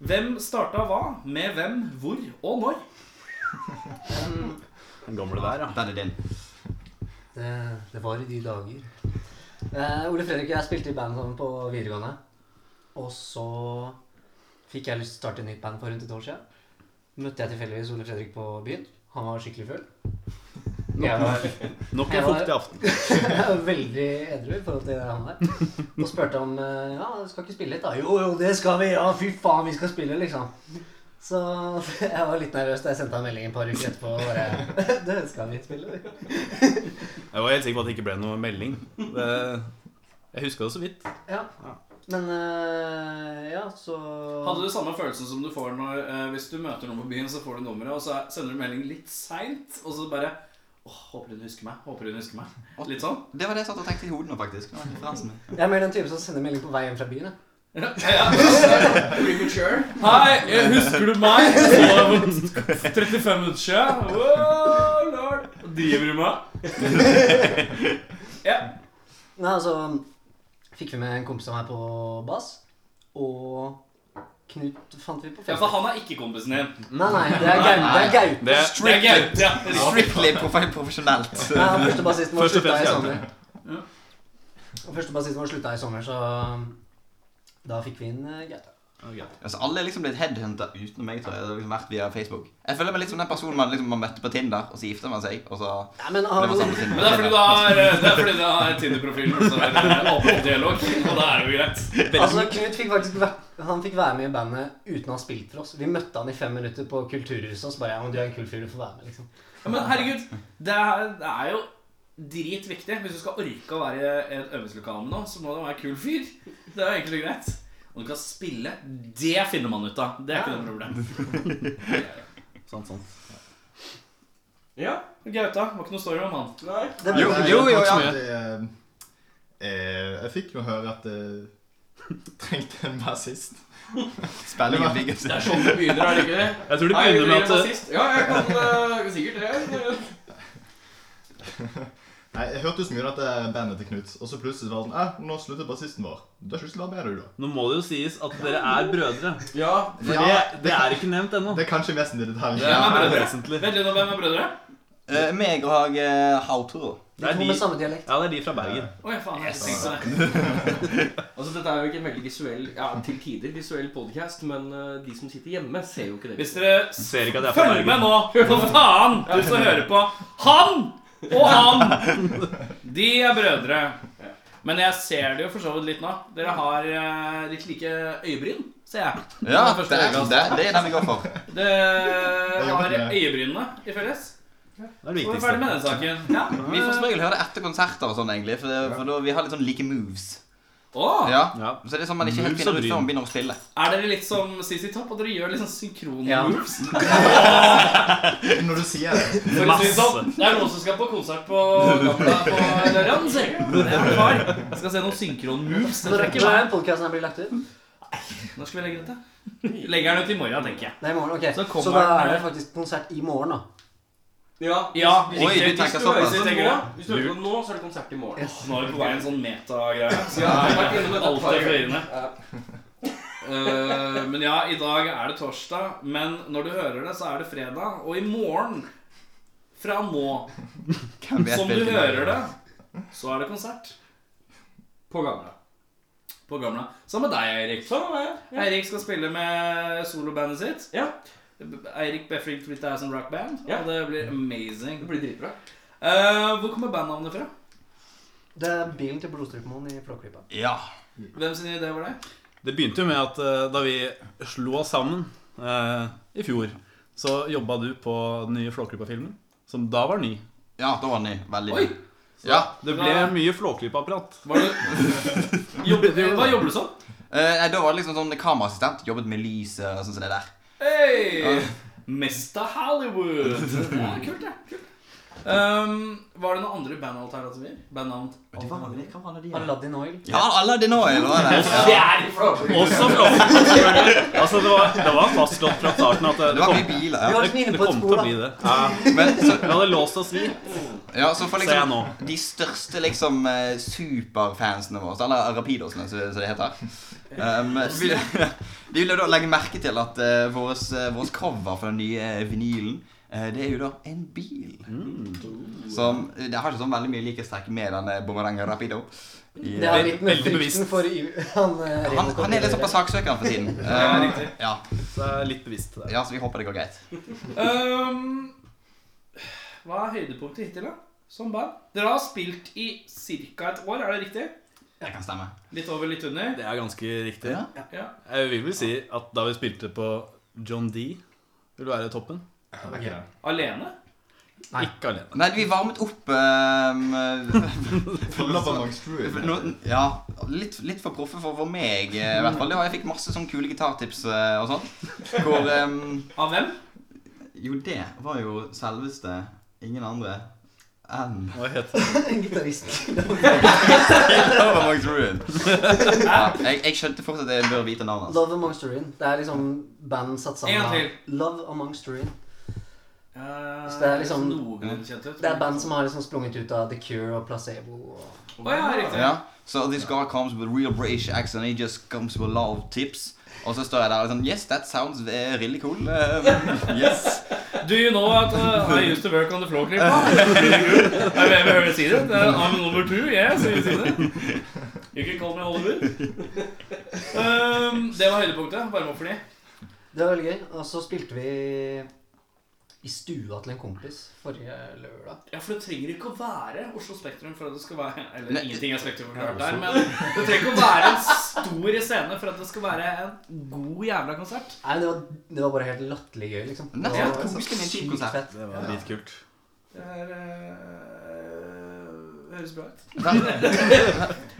Hvem starta hva? Med hvem? Hvor? Og når?
Den gamle der, ja. Den er din.
Det, det var i de dager. Eh, Ole Fredrik og jeg spilte i band sammen på videregående. Og så fikk jeg lyst til å starte et nytt band for rundt et år siden. Møtte jeg tilfeldigvis Ole Fredrik på byen. Han var skikkelig full. Jeg var
Nok
en fuktig
aften.
[LAUGHS] veldig edru i forhold til han der. Og spurte om eh, ja, skal ikke spille litt, da. Jo, jo, det skal vi! Ja, fy faen, vi skal spille, liksom. Så [LAUGHS] jeg var litt nervøs da jeg sendte han melding et par uker etterpå. og Bare, [LAUGHS] det skal vi spille.
Jeg var helt sikker på at det ikke ble noe melding. Det, jeg huska det så vidt.
Ja. Men eh, ja, så
Hadde du samme følelsen som du får når, eh, hvis du møter noen på byen, så får du nummeret, og så er- sender du melding litt seint, og så bare Åh, håper hun husker meg. Håper hun husker meg. Litt sånn.
Det var det jeg satt og tenkte i hodet nå, faktisk. Det var referansen min.
Jeg er mer den type som sender melding på vei hjem fra byen. jeg.
[LAUGHS] Ja, ja. Hei, eh, husker du meg? Så var det 35 minutter siden. Wow, lord. Driver du med? Ja.
Nei, altså Fikk vi med en kompis av meg på bass. Og Knut fant vi på
ja, for han er ikke kompisen din.
Nei, nei, det er Gaute. Det er Gaute.
Det,
Det er Gaute. Ja.
Strictly profi- profesjonelt.
Nei, han første bassisten vår
Først
slutta i
og fremst
sommer.
Ja.
Han Første bassisten vår slutta i sommer, så um, da fikk vi inn eh, Gaute.
Altså, alle er liksom blitt headhunta utenom meg, tror jeg. Det har liksom vært via Facebook. Jeg føler meg litt som den personen man, liksom, man møtte på Tinder, og så gifta man seg, og så
Nei, men
ble
han,
man sammen på Tinder.
Men det er fordi du har, eh, det er fordi du har Tinder-profilen som er åpen dialog, og da er det jo greit.
altså, Knut fikk faktisk væ- han fikk være med i bandet uten å ha spilt for oss. Vi møtte han i fem minutter på Kulturhuset, og så bare ja, men du er en kul fyr, du får være med, liksom.
Ja, Men herregud, det er, det er jo dritviktig. Hvis du skal orke å være i et øvingslokale med noen, så må du være kul fyr. Det er jo egentlig greit. Og du kan spille. Det finner man ut av. Det er ikke noe problem.
[LAUGHS] Sånn, sånn.
Ja.
Gauta, var ikke noe story om han.
Nei.
Det
Jo,
ble,
jo, jo,
Takk så
ja.
mye. Det, eh, [LAUGHS] eh, jeg fikk jo høre at eh, Trengte en bassist.
Spennende
Det var-
bygges.
Det er sånn det begynner, er det ikke det?
Jeg tror det
Nei,
begynner med
jeg blir
at-
bassist. Ja, jeg kan eh, sikkert det.
Nei, Jeg hørte jo så mye av dette bandet til Knut, og så plutselig var det sånn eh, Nå sluttet bassisten vår. Du har ikke lyst til å være med, du, da?
Nå må det jo sies at dere er brødre.
Ja,
For
Ja,
det, det
det-
er ikke nevnt ennå.
Det er kanskje mest en detalj.
Det er
brødre.
vesentlig.
Vent litt, nå, hvem er brødre?
Eh, meg og Hage eh, Hautor.
Det er
kommer med
de,
samme dialekt.
ja, det er de fra Bergen.
Å ja, faen. Jeg tenkte det. Altså, Dette er jo ikke en veldig visuell ja, til tider visuell podcast, men eh, de som sitter hjemme, ser jo ikke det.
Hvis dere
Ser ikke at jeg er fra
Følg med
Bergen.
nå, for faen! Du som hører på. Han og han! De er brødre. Men jeg ser det jo for så vidt litt nå. Dere har eh, litt like øyebryn, ser jeg.
Ja,
Det
det,
er første
det,
øyekast.
det er den vi går for.
Det
Jeg
har
jobbet med-
øyebrynene i felles.
Det er det
Så er vi ferdig med
viktigste.
den saken. Ja.
[LAUGHS] Vi får som regel høre det etter konserter og sånn, egentlig. For, det, for da, vi har litt sånn like moves.
Å,
Ja.
Ja.
Så det er sånn man ikke helt
Moves og
finner ut før
bryn.
man begynner å spille.
er dere litt som CC Topp? Og dere gjør litt sånn
Ja.
synkron-moves?
Når du sier det.
For å si det sånn, Det er noen som skal på konsert på Gamla på lørdag. ser jeg. Det er klar. Skal se noen synkron-moves. Det
Når
trekker
rekker
meg.
den podkasten her blir lagt ut?
Når skal vi legge dette? Legger den ut i morgen, tenker jeg.
Nei, i morgen. Ok.
Så
Så,
kommer
da
den- eh,
er det faktisk konsert i morgen, da.
Ja,
Ja,
Ah, hvis,
Oi,
hvis,
du
hvis,
tenker
du hører
såpass.
på nå, hvis du hører på nå, så er det konsert i morgen.
Yes.
Nå er vi på vei i en sånn metagreie. Så
Ja, jeg har vært innom dette et
alt
par
er fløyende.
ganger. Ja.
Eh, men ja, i dag er det torsdag. Men når du hører det, så er det fredag. Og i morgen, fra nå
Hvem vet
som du
hvilken-
hører det, så er det konsert
På gamla.
på Gamla. Sammen med deg, Eirik.
Sånn var det. Ja.
Eirik skal spille med solobandet sitt.
Ja.
Eirik Befring Flytta er som rockband,
Ja.
og det blir amazing.
Det blir dritbra.
Eh, hvor kommer bandnavnet fra?
Det er bilen til Blodstrupemoen i Flåklypa.
Ja.
Hvem sin idé var det?
Det begynte jo med at eh, da vi slo oss sammen eh, i fjor, så jobba du på den nye Flåklypa-filmen, som da var ny.
ja, da var den ny. Veldig
Oi!
ny. Ja.
Det ble
Ja.
mye Flåklypa-prat.
Var det
[LAUGHS]
Jobb, hva jobber du som?
Eh, nei, da var det liksom sånn kameraassistent. Jobbet med lyset og sånn som det der.
Hei! Mester Hollywood.
[LAUGHS]
Ja, kult, det. Kult. Um, var det noen andre bandalternativer? Bandnavn?
Aladdin Oil.
Ja, alle de nå, eller hva er det?
Det
Ja.
er i Flåklypa.
Også Flåklypa. selvfølgelig. Altså, det var, det var fastslått fra starten at det,
Det
det,
var
kom,
mye biler.
Vi
ja.
var liksom inne
det
på et
kom til
spor,
å
da.
bli det. Ja.
Men så,
Vi hadde låst oss litt,
ja, så for
ser jeg
liksom
nå.
de største liksom eh, superfansene våre, eller rapidosene som som det heter, [LAUGHS] um, vil- de vil jo da legge merke til at uh, våres, eh, våres cover for den nye eh, vinylen, eh, det er jo da en bil. Som, det har ikke sånn veldig mye likhetstrekk med denne Bumerang Rapido. I,
Det er litt med
Veldig
frykten
bevisst.
for i- [LAUGHS] han, eh,
han,
Raymond
han er litt
[LAUGHS]
liksom
sånn på saksøkeren for tiden. Eh, ja,
så jeg er litt bevisst der.
ja, så vi håper det går greit.
Um, hva er høydepunktet hittil, da? Som band? Dere har spilt i ca. et år, er det riktig?
Det kan stemme.
Litt over, litt under?
Det er ganske riktig.
Ja.
Ja.
Jeg vil vel si at da vi spilte på John D, vil være toppen.
Alene?
Ikke alene.
Nei, vi varmet opp eh,
Love amongst druids.
[LAUGHS] Nå, ja, litt, litt for proffe for, for meg, eh, i hvert fall. Ja, jeg fikk masse sånn kule gitartips eh, og sånn. Hvor eh, em,
Av hvem?
Jo, det var jo selveste ingen andre [LAUGHS] enn
Hva heter det?
En gitarist.
Love Amongst Ruin. Ja, jeg, jeg skjønte fort at jeg bør vite navnet.
Love Amongst Ruin. Det er liksom band satt sammen
En gang
av
til.
Love Amongst Ruin.
Uh,
Så det er liksom-
noen kjent ut.
Det er band som har liksom sprunget ut av The Cure og Placebo og
Å ja, riktig.
Ja, so this guy comes with real British accent, he just comes with a lot of tips. Og så står jeg der og sånn Yes, that sounds eh, really cool. eh, [LAUGHS] yes.
Do you know at uh, I used to work on the floor clip? [LAUGHS] Have you ever heard seen it? Uh, I'm number two, yes, have you seen it? You can call me Oliver. Um, det var høydepunktet, bare for de.
Det var veldig gøy. Og så spilte vi i stua til en kompis forrige lørdag.
Ja, for det trenger ikke å være Oslo Spektrum for at det skal være Eller
Nei.
ingenting er Spektrum for klart der, men det trenger ikke å være en stor scene for at det skal være en god jævla konsert.
Nei, det var, det var bare helt latterlig gøy, liksom. Det
Nettopp.
var
Koselig med en kjip konsert.
fett.
Det var dritkult.
Det er eh, Høres bra ut.
That,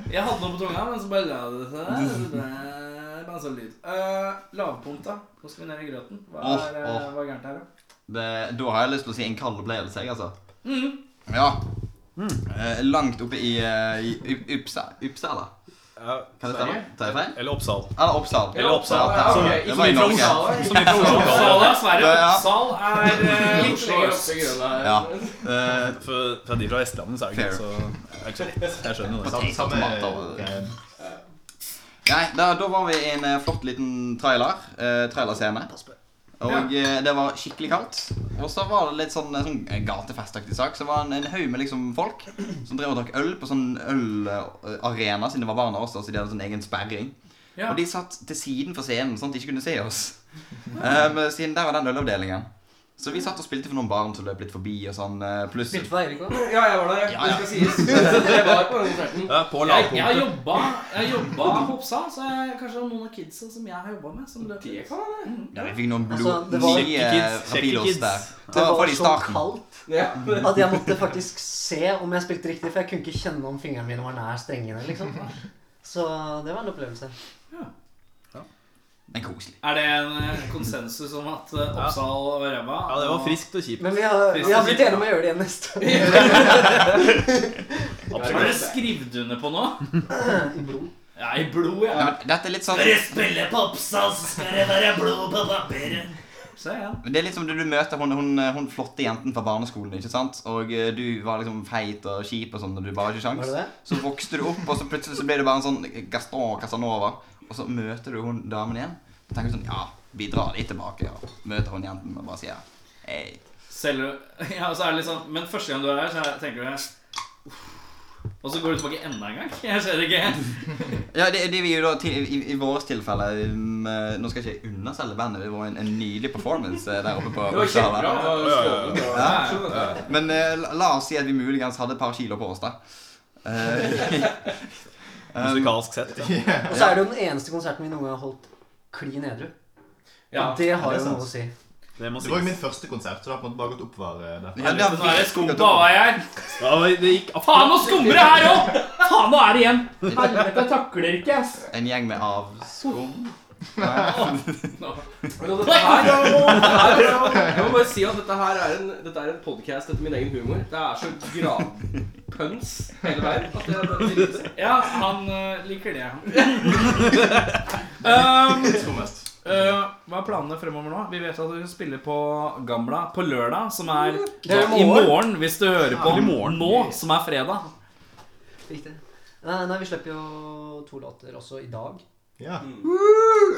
[LAUGHS] Jeg hadde noe på tunga, men så bare la det seg. Det ble bare en sånn lyd. Eh, lavpunkt, da. Nå skal vi ned i grøten. Hva
Åh,
er, eh,
åh.
hva er gærent her, da?
Det, da har jeg lyst til å si en kald opplevelse, jeg, altså. Ja. Eh, langt oppe i, eh, i Uppsala. Kan det stemme? Tar jeg feil?
Eller Oppsal.
Eller Oppsal.
Eller Oppsal,
Ja,
som-
ok.
som
var i
vi fra
Norge.
Oppsal, som vi fra Oslo kaller det.
Oppsal er Sverige.
Ja.
Oppsal er eh, Oslo øst.
Ja.
Eh, For, for de fra Vestlandet så er det ikke så, det er ikke så lett. Jeg skjønner jo det.
Samme, samme eh,
Tomater. Nei, da, da var vi i en eh, flott liten trailer. Eh, trailerscene. Og eh, det var skikkelig kaldt. Og så var det litt sånn, eh, sånn gatefestaktig sak. Så det var en, en haug med liksom folk som drev og drakk øl på sånn ølarena, siden det var barna også, så de hadde sånn egen sperring.
Ja.
Og de satt til siden for scenen, sånn at de ikke kunne se oss. Um, siden der var den ølavdelingen. Så vi satt og spilte for noen barn som løp litt forbi og sånn. eh, Pluss
Spilte for Eirik òg.
Ja, jeg var der.
Ja, ja.
Det skal sies. Jeg var på den konserten.
Ja, på
Jeg, jeg har
lavpunktet.
jobba, jeg har
[LAUGHS]
jobba på Oppsal, så jeg, kanskje det er noen av kidsa som jeg har jobba med, som løper. Mhm.
Det kan være.
Ja, vi fikk noen blod
Altså, det var-
nye
Kjekke kids, kjekke
rapidos
kids.
der.
Det
Ja,
var
for de i
så
starten.
kaldt
Ja.
at jeg måtte faktisk se om jeg spilte riktig, for jeg kunne ikke kjenne om fingrene mine var nær strengene, liksom. Så det var en opplevelse.
Men koselig.
Er det en eh, konsensus om at eh, Oppsal var ræva?
Ja, det var friskt og kjipt.
Men vi har, vi har blitt enige om å gjøre det igjen neste år.
Har dere skrevet under
[LAUGHS]
på nå? Ja, i blod,
Ja,
ja.
men dette er litt sånn
spiller på Oppsal, så skal det være blod på papiret. Se, ja.
Men Det er litt som du, du møter hun, hun, hun flotte jenten fra barneskolen, ikke sant? Og eh, du var liksom feit og kjip og sånn, og du bare hadde ikke
Var
sjans.
det det?
Så vokste du opp, og så plutselig så ble det bare en sånn Gaston Casanova. Og så møter du hun damen igjen. Og tenker du sånn, ja, vi drar litt tilbake, ja. Møter hun jenten og bare sier, hei.
Selv, [LAUGHS] ja, og så er det litt sånn Men første gang du er her, så er- tenker du "Uff." Og så går du tilbake enda en gang. [LAUGHS] Jeg ser det ikke.
Ja, det, det vi jo da til, i, i vårt tilfelle um, eh, Nå skal jeg ikke underselge bandet, det var en, en nydelig performance eh, der oppe på
Det var
Oppsala.
kjempebra. Det var strålende.
Ja, ja, ja.
Men eh, la, la oss si at vi muligens hadde et par kilo på oss, da. Eh, [LAUGHS]
Musikalsk sett. Ja.
Og så er det jo den eneste konserten vi noen gang har holdt klin edru.
Ja,
Og det har
det er
jo
sant.
noe å si.
Det må
Det var jo
sies.
min første konsert, så det har på en måte bare gått oppover eh, der.
ja, det har vi-
Nå er det skumpa var jeg.
Ja, det gikk
Faen, nå skummer det her òg! Faen, nå er det igjen. Helvete, jeg takler ikke, ass.
En gjeng med avskum.
Men dette her, dette her, jeg må bare si at dette her er en, dette er en podcast etter min egen humor. Det er så gravpøns hele veien. At jeg, det, det, det,
Ja, han eh, liker det. um,
Skummest.
eh, hva er planene fremover nå? Vi vet at dere spiller på Gamla på lørdag, som er
Det er i
i
morgen.
morgen, hvis du hører på
Ja, i morgen.
nå, som er fredag.
Riktig. Nei, nei, vi slipper jo to låter også i dag.
Ja.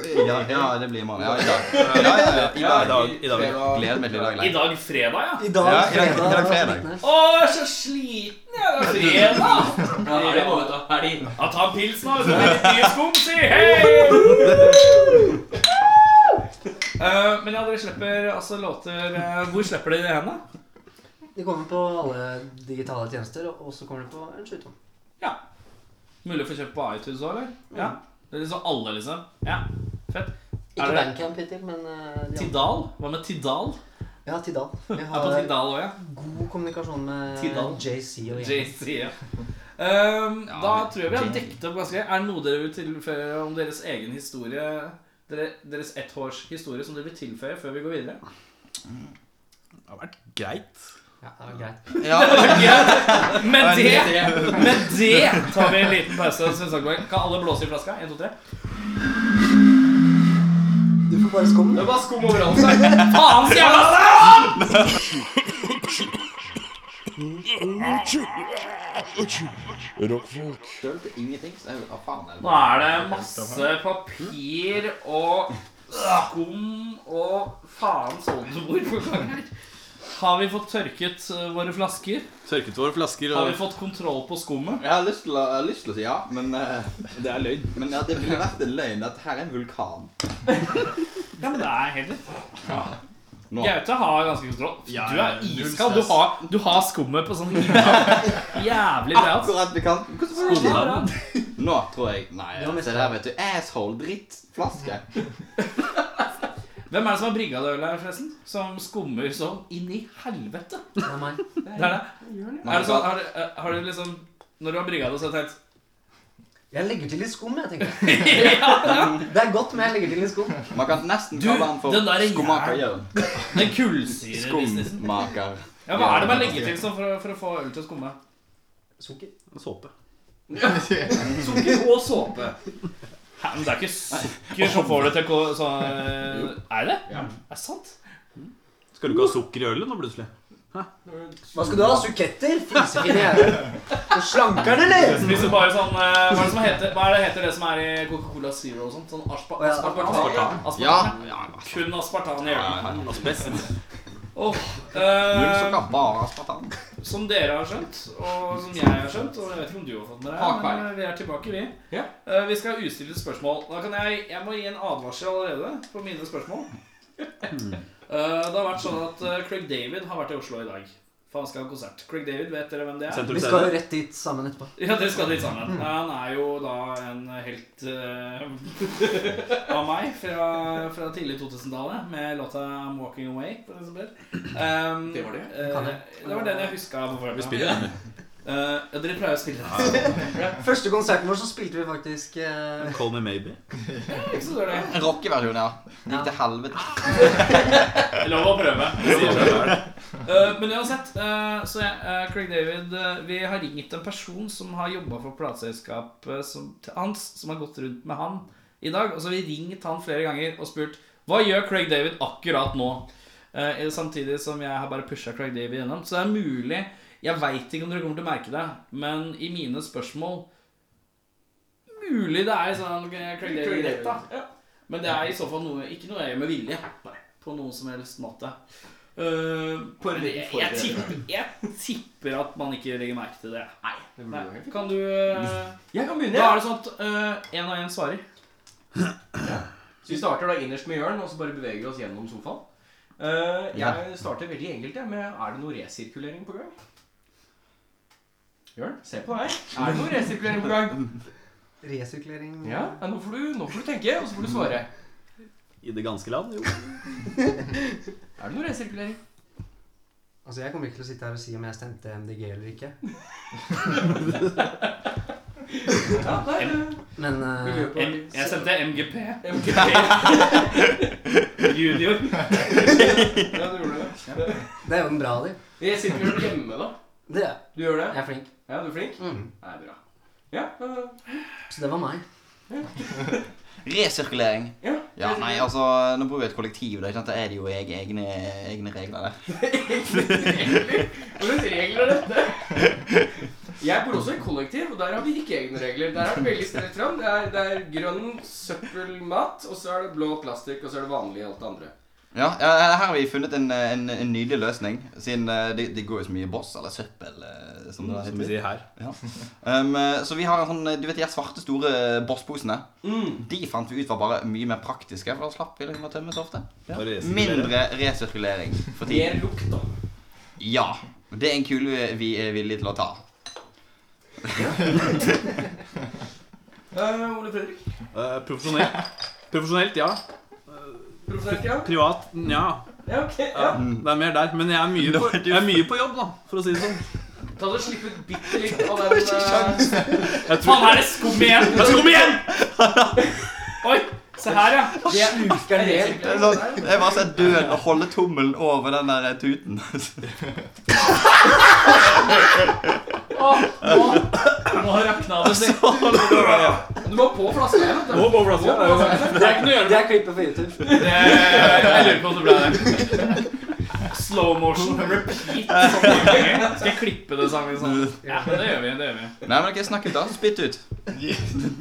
Ja, ja, det blir i morgen. Ja, i dag. I dag, ja, ja, i
Ja, i
dag.
dag. I dag.
Gleder meg til i dag.
I
Leif.
dag fredag, ja.
I dag,
Ja, i dag-
fredag.
i dag fredag.
19..
Å, jeg er så sliten jeg. Det er fredag.
Ja, er det noe ut av helg?
Ja, ta en pils nå. Det er litt mye skum, si. Hei! Eh, men ja, dere slipper altså låter eh, Hvor slipper dere det hen, da?
De kommer på alle digitale tjenester, og så kommer de på en skytom.
Mulig å få kjøpt på iTunes òg, eller?
Mm.
Ja. Det er liksom alle, liksom. Ja, fett. Er
Ikke
det-
Bandcamp hittil, men eh, de andre.
Tidal? Hva med Tidal?
Ja,
[LAUGHS]
Tidal. Vi
Ja, på
har eh,
Tidal òg, ja.
god kommunikasjon med
Tidal.
JC og gjengen.
JC, ja. Ehm,
Ja,
da
men-
tror jeg vi har dekket opp ganske Er det noe dere vil tilføye om deres egen historie? Dere, deres ettårshistorie som dere vil tilføye før vi går videre?
Det har vært greit.
Ja, det var greit.
[LAUGHS] Ja,
Med det, med det tar vi en liten pause. Sven Sagberg. Kan alle blåse i flaska? En, to, tre.
Du får bare skum.
Det var skum overalt her.
[LAUGHS] Faen, skal jeg ha det?!
Rockfolk.
skjønte ingenting, så jeg hva faen er
Nå er det masse papir og skum og faen sånn som bor på gang her. Har vi fått tørket eh, våre flasker?
Tørket våre flasker
Har vi
og
fått kontroll på skummet?
Jeg har lyst til å, jeg har lyst til å si ja, men, eh,
Det er løgn.
men ja, det ville vært en løgn. Dette her er en vulkan.
Ja, men det er helt rett.
Nå.
Gaute har ganske kontroll.
Ja,
Du er
null
iskald. Du
stress.
har, du har skummet på sånn jævlig bra. ass.
Akkurat ved kanten. Hvordan får du det
Ja,
til? Nå tror jeg Nei,
Det var mest-
se der, vet du. Asshole. Drittflaske.
Hvem er det som har brygga det ølet her, forresten? Som skummer sånn inn i helvete.
Det er meg.
Det er det. Er det sånn, har, eh, har du liksom Når du har brygga det, så har du tenkt
Jeg legger til litt skum, jeg
[LAUGHS]
tenker. Det er godt, men jeg legger til litt skum.
Man kan nesten
Du,
kalle han for
den der er
skomakerjørn.
Den kullsyrebusinessen.
Skummaker.
Ja, hva er det man legger til sånn for, å- for å få øl til å skumme?
Sukker.
Såpe.
Ja. Sukker og såpe.
Hæ, men det er ikke sukker som får det til å ko- så, Er det? Er det sant?
Skal du ikke ha sukker i ølet nå, plutselig?
Hva skal du ha? Suketter? Fisefine jævel. Så Slanker den, eller?
Spiser bare sånn eh, Hva er det som heter, hva er det, heter det som er i Coca-Cola Zero og sånt? Sånn aspa,
Å, ja,
aspartam?
aspartam.
Aspartam.
Ja, ja,
Kun aspartam i ølen.
Asbest.
Åh,
Null
eh,
sukker, bare aspartam.
som dere har skjønt, og som jeg har skjønt, og jeg vet ikke om du har fått med deg,
Hakberg.
men eh, vi er tilbake, vi.
Ja.
Eh, vi skal ha ustilte spørsmål. Da kan jeg, jeg må gi en advarsel allerede på mine spørsmål. Eh, det har vært sånn at eh, Craig David har vært i Oslo i dag. For han skal ha konsert. Craig David, vet dere hvem det er?
Sentrum
Vi skal jo rett dit sammen etterpå.
Ja, dere skal dit sammen. Eh, Han er jo da en helt eh, [LAUGHS] av meg fra, fra tidlig 2000-tallet med låta 'I'm Walking Away'. For eksempel. Um,
Det var det?
eh,
Kan det?
det var den jeg huska. Vi spiller den. ja, Eh, dere pleier å spille den.
Første konserten vår så spilte vi faktisk eh,
Call me maybe.
Ikke [LAUGHS] så dårlig.
En Rockeversjon, ja. Det gikk til helvete.
Lov å prøve. Eh, men uansett, eh, så jeg, eh, Craig David eh, Vi har ringt en person som har jobba for plateselskapet som, til hans, som har gått rundt med han i dag. Og så har vi ringt han flere ganger og spurt hva gjør Craig David akkurat nå. Eh, samtidig som jeg har bare pusha Craig David gjennom. Så det er mulig Jeg veit ikke om dere kommer til å merke det, men i mine spørsmål Mulig det er sånn eh, Craig David rett, da. Men det er i så fall noe, ikke noe jeg gjør med vilje. På noen som helst måte. Eh, jeg, jeg, tipper, jeg tipper at man ikke legger merke til det. Nei. Kan du eh,
Jeg kan
Da
begynne. Ja.
er det sånn at én og én svarer.
Så vi starter da innerst med Jørn, og så bare beveger vi oss gjennom sofaen. Eh, jeg starter veldig enkelt jeg, med Er det noe resirkulering på gang? Jørn, se på deg. Er det noe resirkulering på gang?
resirkulering.
Ja, ja nå, får du, nå får du tenke, og så får du svare.
I det ganske land, jo.
Er det noe resirkulering?
Altså, jeg kommer ikke til å sitte her og si om jeg stemte MDG eller ikke.
Ja, der.
Men eh,
Jeg, jeg sendte MGP. [LAUGHS]
Junior. ja, du gjorde det.
det er jo en bra del.
Resirkulering hjemme, da?
Det er jeg.
Du gjør
Jeg
det?
er flink.
Ja, du er flink?
Mm.
Det er bra. Ja, eh,
Så det var meg.
Resirkulering.
ja.
Ja, nei, altså, nå bor vi i et kollektiv, da ikke sant? da er det jo eg- egne, egne regler der.
Hva slags regler er dette? Jeg bor også i kollektiv, og der har vi ikke egne regler. Der er det veldig streit fram. Det er, det er grønn søppelmat, og så er det blå plastikk, og så er det vanlig alt det andre.
Ja, ja, her har vi funnet en, en, en nydelig løsning, siden eh, det, det går jo så mye boss, eller søppel, eh, som det
Mm, Som vi
heter.
sier her.
Um, eh, så vi har en sånn, eh, du vet de her svarte store eh, bossposene?
Mm.
De fant vi ut var bare mye mer praktiske, for da slapp vi liksom å tømme så ofte.
Og resirkulere.
Mindre resirkulering for tiden.
Mer lukt, da.
Ja. Det er en kule vi er villige til å ta.
Eh, Ole Fredrik?
Eh, profesjonelt. Profesjonelt, ja.
Profesjonelt, ja?
Privat, nja.
Ja, ok.
Ja,
Ja.
det er mer der. Men jeg er, mye på, jeg er mye på jobb, da, for å si det sånn.
Ta det slipp ut
[LAUGHS]
bitte litt av den eh,
Jeg tror
Faen, her er det skum igjen! Skum igjen! Oi, se her, ja.
det er
Sluker den helt.
Det er sånn- det er bare å se døden og holde tommelen over den der tuten.
Åh, nå, nå rakna det seg.
Du må på flaska igjen. vet du.
Må på flaska,
Må på flaska.
Det er ikke noe å gjøre med.
Det er klippet for YouTube.
Det, jeg lurer på om det ble det. Slow motion [LAUGHS] repeat. sånn mange ganger. Skal jeg klippe det sammen? Sånn? Ja, men det gjør vi. det gjør vi
Nei, men ok, snakk ut, da. Spytt ut.
Vi,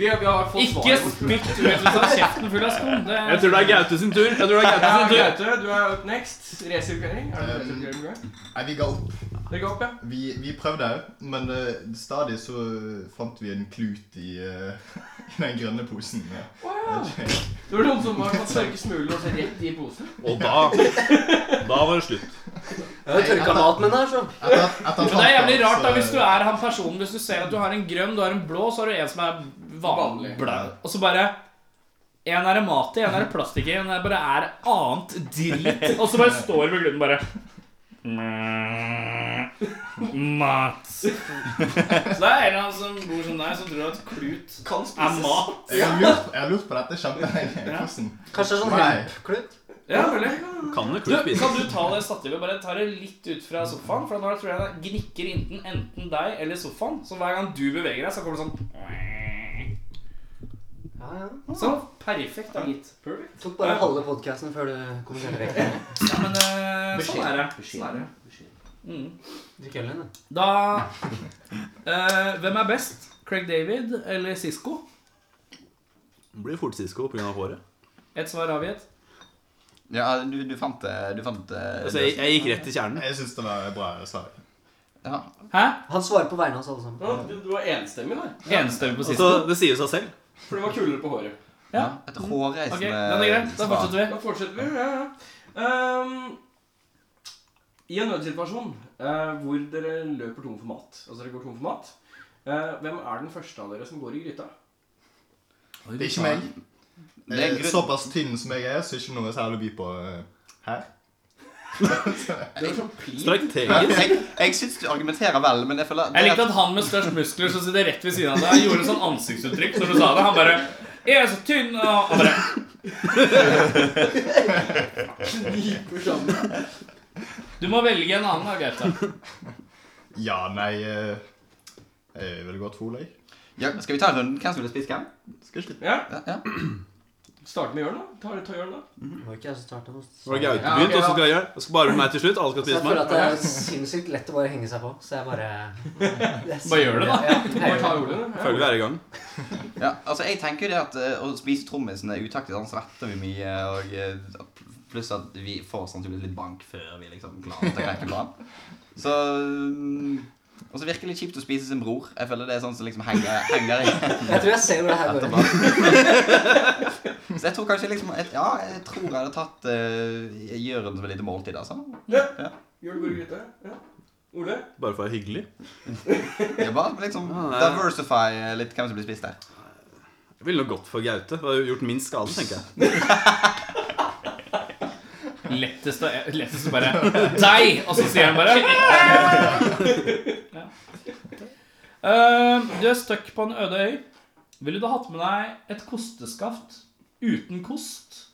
har- vi har fått
Ikke
svaret.
spytt ut hvis du har kjeften full av skum. Det
Jeg tror det er Gaute sin tur. Jeg tror det er Gaute
Ja,
sin tur.
Gaute, du er up next. Resirkulering? Er det resirkulering du gjør?
Eh, Nei, vi ga opp.
Legg opp, ja.
Vi, vi prøvde òg, men eh, stadig så eh, fant vi en klut i, eh, [LAUGHS] i den grønne posen. Ja.
Det var noen som har fått tørke smulen og så rett i posen.
Og da Da var det slutt.
Jeg har tørka mat med den her, så.
Etter, at- etter at
Men det er
han
jævlig
fant
rart da
så-
hvis du er han personen Hvis du ser at du har en grønn, du har en blå, så har du en som er vanlig.
Vanlig.
Bla- Og så bare En er det mat i, en er det plastikk i, en er bare er annet drit. Og så bare står du med grunnen bare "Mm, Mat. Så det er en eller annen som bor som deg, som tror at klut
Kan
er
spises.
mat.
Jeg har lurt, jeg har lurt på dette kjempelenge. Hvordan?
Kanskje det er sånn
Nei.
hempklut?
Ja, mulig.
Kan jo
Du,
klart spise.
kan du ta det stativet? Bare ta det litt ut fra sofaen. For nå tror jeg det gnikker enten, enten deg eller sofaen. Så hver gang du beveger deg, så kommer det sånn
Ja, ja.
Sånn. Perfekt da, gitt.
Tok bare halve podkasten før du kommenterte vekk.
Ja, men eh, sånn er det. Sånn er det. Mm.
Drikk øl igjen, da.
Da eh, Hvem er best? Craig David eller Sisko?
Blir fort Sisko pga. håret.
Ett svar avgitt.
Ja, du, du fant det. Du fant det
Altså, jeg, jeg gikk rett til kjernen.
Jeg syns det var bra svar.
Ja.
Hæ?
Han svarer på vegne av oss alle sammen.
Du, du var enstemmig der.
Enstemmig på
Altså,
Sisko.
det sier seg selv.
For det var kulere på håret.
Ja.
Et
Ok,
hårreisende
den er grei. Da
svar.
fortsetter vi.
Da fortsetter vi. Ja, ja. Ehm, I en nødsituasjon eh, hvor dere løper tom for mat, altså dere går tom for mat, eh, hvem er den første av dere som går i gryta?
Det er ikke meg.
Det er en
Eh,
grunn-
Såpass tynn som jeg er, så er det ikke noe særlig å by på eh, her.
Det er sånn plin.
Strategisk.
Jeg, jeg syns du argumenterer vel, men jeg føler
Jeg likte at han med størst muskler som sitter rett ved siden av deg, gjorde sånn ansiktsuttrykk når du sa det. Han bare Jeg er så tynn, og han bare Du må velge en annen, da, Gaute.
Ja, nei eh, Jeg ville gått for Ole, jeg.
ja, Skal vi ta runden? Hvem som ville spist hvem?
Skal ikke
Ja,
Ja, ja.
Start med Jørn, da. Ta, ta Jørn, da.
Det var ikke jeg som starta. nå.
Nå har Gaute
Ja, ok,
begynt, og så
ja.
skal jeg gjøre det. Så bare meg til slutt. Alle
Så
skal
jeg
spise
føler
meg.
at det er sinnssykt lett å bare henge seg på, så jeg bare
Bare gjør det, da.
Ja,
Bare
jeg
ta
gjør det.
Ole, da.
Føler vi er i gang.
Ja, altså jeg tenker jo det at eh, å spise trommisen er utaktisk, han svetter vi mye, og eh, pluss at vi får sannsynligvis litt bank før vi liksom klarer å knekke planen. Så mm, Og så virker det litt kjipt å spise sin bror. Jeg føler det er sånn som liksom henger, henger igjen
Jeg tror jeg ser hvor det her går.
etterpå. Så jeg tror kanskje liksom et, Ja, jeg tror jeg hadde tatt uh, Jørn som et lite måltid, altså.
Jørn går i gryta. Ja. Ole?
Bare for å være hyggelig.
Jeg bare liksom
Ja, det er-
diversify eh, litt hvem som blir spist der.
Jeg ville nok gått for Gaute. Det hadde gjort minst skade, tenker jeg.
Lettest å, lettest å bare Deg! Og så sier han bare ja. Eh, Du er stuck på en øde øy. Ville du hatt med deg et kosteskaft uten kost?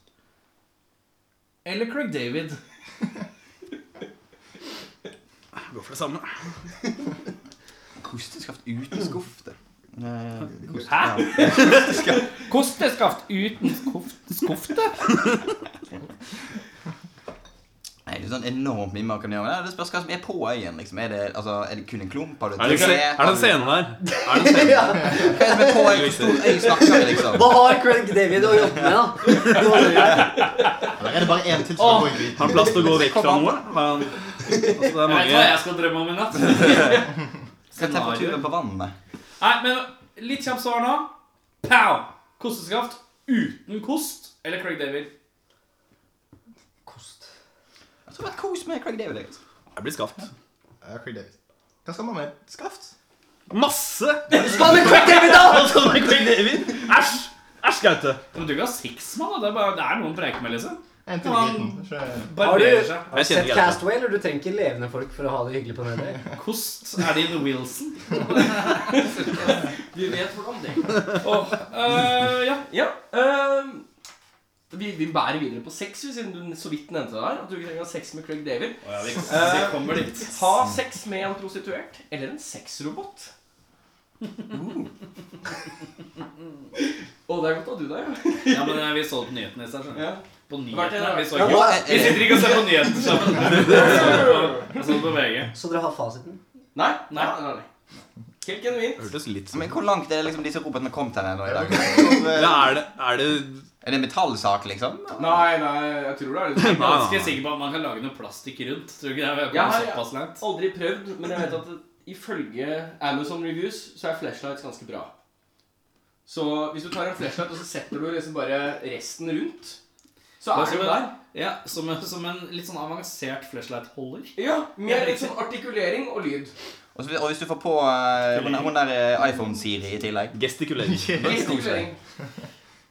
Eller Craig David?
Går for det samme.
Kosteskaft uten skuff, det. Eh, kost-
Hæ?
ja.
Kosteskaft uten skoft, skofte?
Nei, det er sånn enormt mye man kan gjøre med det. Det spørs hva som er på øyen. liksom. Er det, altså, er det kun en klump? Har du
Er det, en
tre?
se- er det en scene der? Er det en scene?
[LAUGHS] Ja.
Hva er det som er på øyen? Hvor stor øy snakker vi, liksom?
Hva har Craig David å jobbe med, da? Nå er det greit.
Eller er det bare én til som skal gå i
Har
gryten?
han plass til å gå vekk fra noe? Har han- Altså, det
Jeg
er
vet hva
mange
jeg skal drømme om i natt.
Hva er temperaturen på vannet?
Nei, men litt kjapt svar nå. Pow! Kosteskaft uten kost eller Craig David?
Kost.
Jeg tror det var Altså, kos med Craig David. Liksom.
Jeg blir skaft.
Ja, Craig Davis. Hva skal man med? Skaft?
Masse!
Hva med Craig David, da?!
Altså, det er Craig David. Æsj! Æsj, Gaute.
Men du kan ha seks mann, da. Det er, bare, det er noen på med, liksom.
En til i gryten. Ikke-
Har du,
Barberer seg.
har du
Jeg kjenner
sett
Gaute.
Castaway, eller du trenger ikke levende folk for å ha det hyggelig på Nødøy?
Kost er din Wilson.
Vi vet hvordan det
Åh, øh, ja.
Eh, Ja. ehm, vi, vi bærer videre på sex, vi, siden du så vidt nevnte det der. At du ikke trenger å ha sex med Craig David.
Vi kommer dit.
Ha sex med en prostituert eller en [LAUGHS] sexrobot. Uh. Å, det er godt av du der, ja.
Ja, men eh, vi så på nyhetene i stad. skjønner du.
ja.
På nyhetene. Vi så
Ja,
ikke
hva
Vi
eh,
er-
sitter ikke og ser på nyhetene sammen. Jeg så det på VG.
Så dere har fasiten?
Nei, nei, nei, nei. Helt genuint.
Hørtes litt som
Men hvor langt er det liksom disse robotene kommet her nå i dag?
ja, er, det, er det
Er det en metallsak, liksom?
Nei, nei, jeg tror det er litt
Jeg er ganske sikker på at man kan lage noe plastikk rundt. Tror du ikke det? Vi har
Ja,
kommet
ja.
såpass langt.
Aldri prøvd, men jeg vet at ifølge Amazon Reviews så er flashlights ganske bra. Så hvis du tar en flashlight og så setter du liksom bare resten rundt, så
Det er
er
som
du
en-
der.
Ja, som en, som en litt sånn avansert flashlight-holder.
Ja, Med litt sånn artikulering og lyd.
Og, så, og hvis du får på eh, hun, hun der eh, iPhone-Siri i tillegg
gestikulering?
Gestikulering.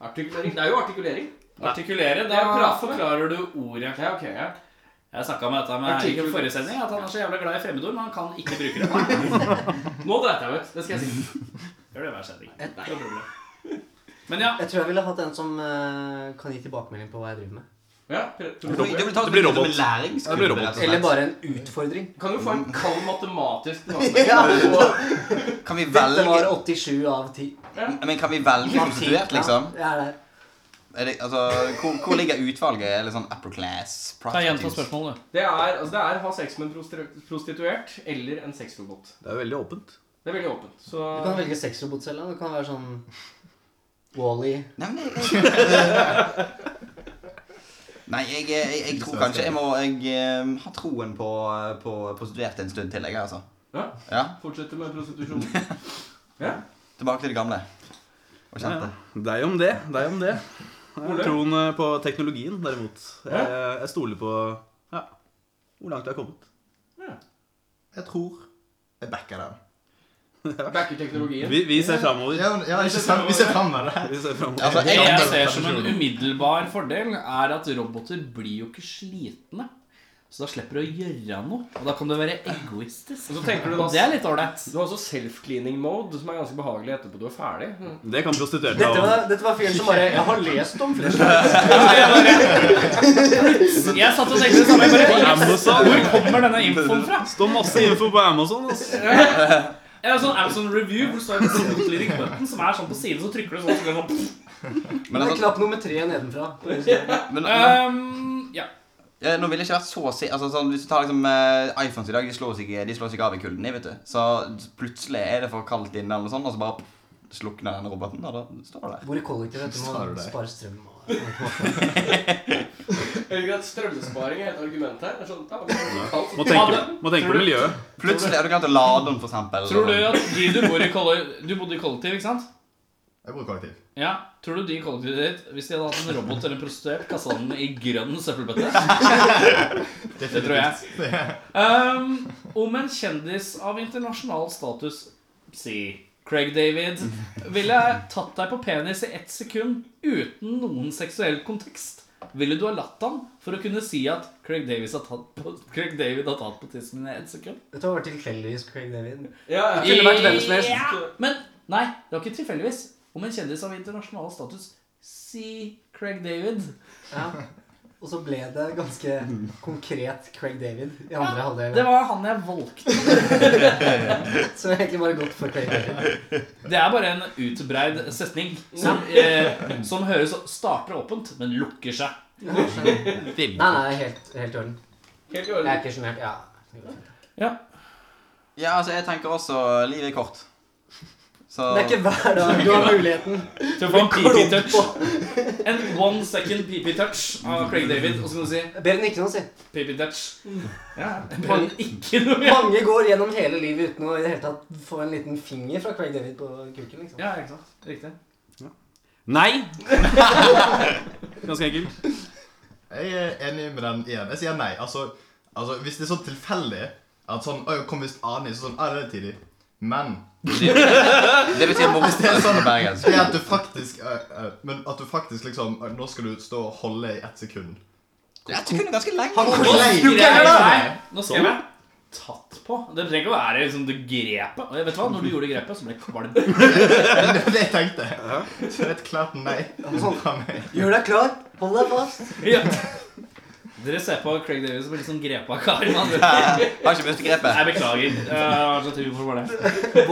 Artikulering. Det er jo artikulering.
Artikulere, da
Ja, prat for meg.
forklarer du ordet.
Ja, ok, ja.
Jeg snakka med dette med Erik i
Artikulering.
forrige sending, at han er så jævla glad i fremmedord, men han kan ikke bruke
[LAUGHS]
det.
Nå dreit jeg meg ut. Det skal jeg si.
Gjør det hver sending. Det er ikke noe problem. Men ja,
Jeg tror jeg ville hatt en som eh, kan gi tilbakemelding på hva jeg driver med.
Ja, prøv.
Det blir, det blir, tatt litt som en læringskurve,
Det blir robot.
rett og slett.
Eller bare en utfordring.
Kan du få en kald matematisk [LAUGHS]
Ja.
Kan vi
Dette var
velge
87 av 10.
Men kan vi velge prostituert, liksom?
Ja, jeg er der.
Er det, altså, hvor, hvor ligger utvalget? Er det sånn upper class?
Ta igjen på
prostitutes?
spørsmålet, du.
Det er, altså, det er ha sex med en prostitu- prostituert eller en sexrobot.
Det er veldig åpent.
Det er veldig åpent. Så
Du kan velge sexrobot selv. da. Du kan være sånn Wally. -E.
Nei, men jeg, Nei, jeg, jeg, jeg tror kanskje jeg må Jeg eh, har troen på, eh, på prostituerte en stund til, jeg, altså.
Ja.
Ja,
fortsette med prostitusjon. Ja.
Tilbake til det gamle. Og kjente.
Deg om det. Deg om det. Jeg har
Ole?
troen eh, på teknologien, derimot. Jeg, jeg stoler på ja, hvor langt vi har kommet.
Jeg tror jeg backer den.
Backer teknologien.
Vi, vi ser framover.
Ja, ja ikke sant? Vi ser frem med det.
Vi ser fremover.
Altså,
Det jeg
jeg,
ser som en umiddelbar fordel, er at roboter blir jo ikke slitne. Så da slipper du å gjøre noe. Og da kan du være egoistisk.
Og så tenker du da
Og det er litt ålreit.
Du har også self-cleaning mode, som er ganske behagelig etterpå du er ferdig.
Det kan prostituerte
[LAUGHS] Dette
ha.
var, dette var fyren som bare Jeg har lest om flashlight.
Jeg satt og tenkte det samme. jeg bare,
Amazon.
Hvor kommer denne infoen fra?
Står masse info på Amazon. ass.
Jeg har sånn Amazon Review hvor det står en sånn lyric button som er sånn på siden, så trykker du sånn. Så blir det sånn
men
Det er
altså,
knapp nummer tre nedenfra.
men,
Ehm, ja.
Ja, nå ville jeg ikke vært så si... Altså, sånn, hvis du tar liksom eh, iPhones i dag, de slår seg, ikke- de slår seg ikke av i kulden, de, vet du. Så plutselig er det for kaldt inne, eller noe sånt, og så bare slukner den roboten, og da står det der.
Bor i kollektiv, vet du.
Sa du
Må
det?
spare strøm. og-
Jeg liker at Strømsparing er et argument her. Det er sånn, ja, det er kaldt.
Må tenke, må tenke på miljøet.
Plutselig har du glemt å lade den, for eksempel.
Tror du at de du bor i kollektiv Du bodde i kollektiv, ikke sant?
Jeg bor kollektiv.
Ja. Tror du de i kollektivet ditt, hvis de hadde hatt en robot eller en prostituert, kasta den i grønn søppelbøtte? Det tror
[LAUGHS]
jeg. Ehm, om en kjendis av internasjonal status, si Craig David, ville tatt deg på penis i ett sekund uten noen seksuell kontekst, ville du ha latt han for å kunne si at Craig, Davis har tatt på, Craig David har tatt på tissen min i ett sekund?
Dette var tilfeldigvis Craig David.
Ja, ja.
kunne vært hvem som helst.
Ja, men nei, det var ikke tilfeldigvis. Om en kjendis av internasjonal status, si Craig David.
Ja. Og så ble det ganske konkret Craig David i andre
Det
halvdel.
var han jeg valgte.
Så det er egentlig bare godt for Craig David.
Det er bare en utbreid setning som, eh, som høres starter åpent, men lukker seg.
Nei, nei, helt, helt i orden.
Helt i
Jeg er
orden.
ikke sjenert. Ja.
Ja, altså, jeg tenker også livet er kort. Så
Det er ikke hver dag du har muligheten.
Til å få en PP-touch. En one second PP-touch av Craig David. Og så kan du si
Bedre enn ikke noe, si.
PP-touch. Ja, men ikke noe mer.
Mange går gjennom hele livet uten å i det hele tatt få en liten finger fra Craig David på kuken. liksom.
Ja, ikke sant. Riktig.
Nei! Ganske enkelt.
Jeg er enig med den igjen. Jeg sier nei. Altså, altså hvis det er sånn tilfeldig at sånn, «Å, jeg kom visst an i, så sånn, «Å, det er tidlig. Men
Det betyr morsomt på bergensk.
det at du faktisk øh, øh, Men at du faktisk liksom øh, Nå skal du stå og holde i ett sekund.
Jeg kunne ganske lenge.
Nei,
Nei, nå skrev jeg tatt på. Det trenger ikke å være liksom det grepet. Og jeg vet hva, når du gjorde grepet, så ble jeg kvalm. [LAUGHS]
Det var det jeg tenkte. Så det er et klart nei fra meg.
Gjør deg klar. Hold deg fast.
Ja. Dere ser på Craig Davis som en litt sånn grepa kar. [LAUGHS] man.
Har ikke mistet grepet.
Jeg beklager. Uh, hvorfor var det?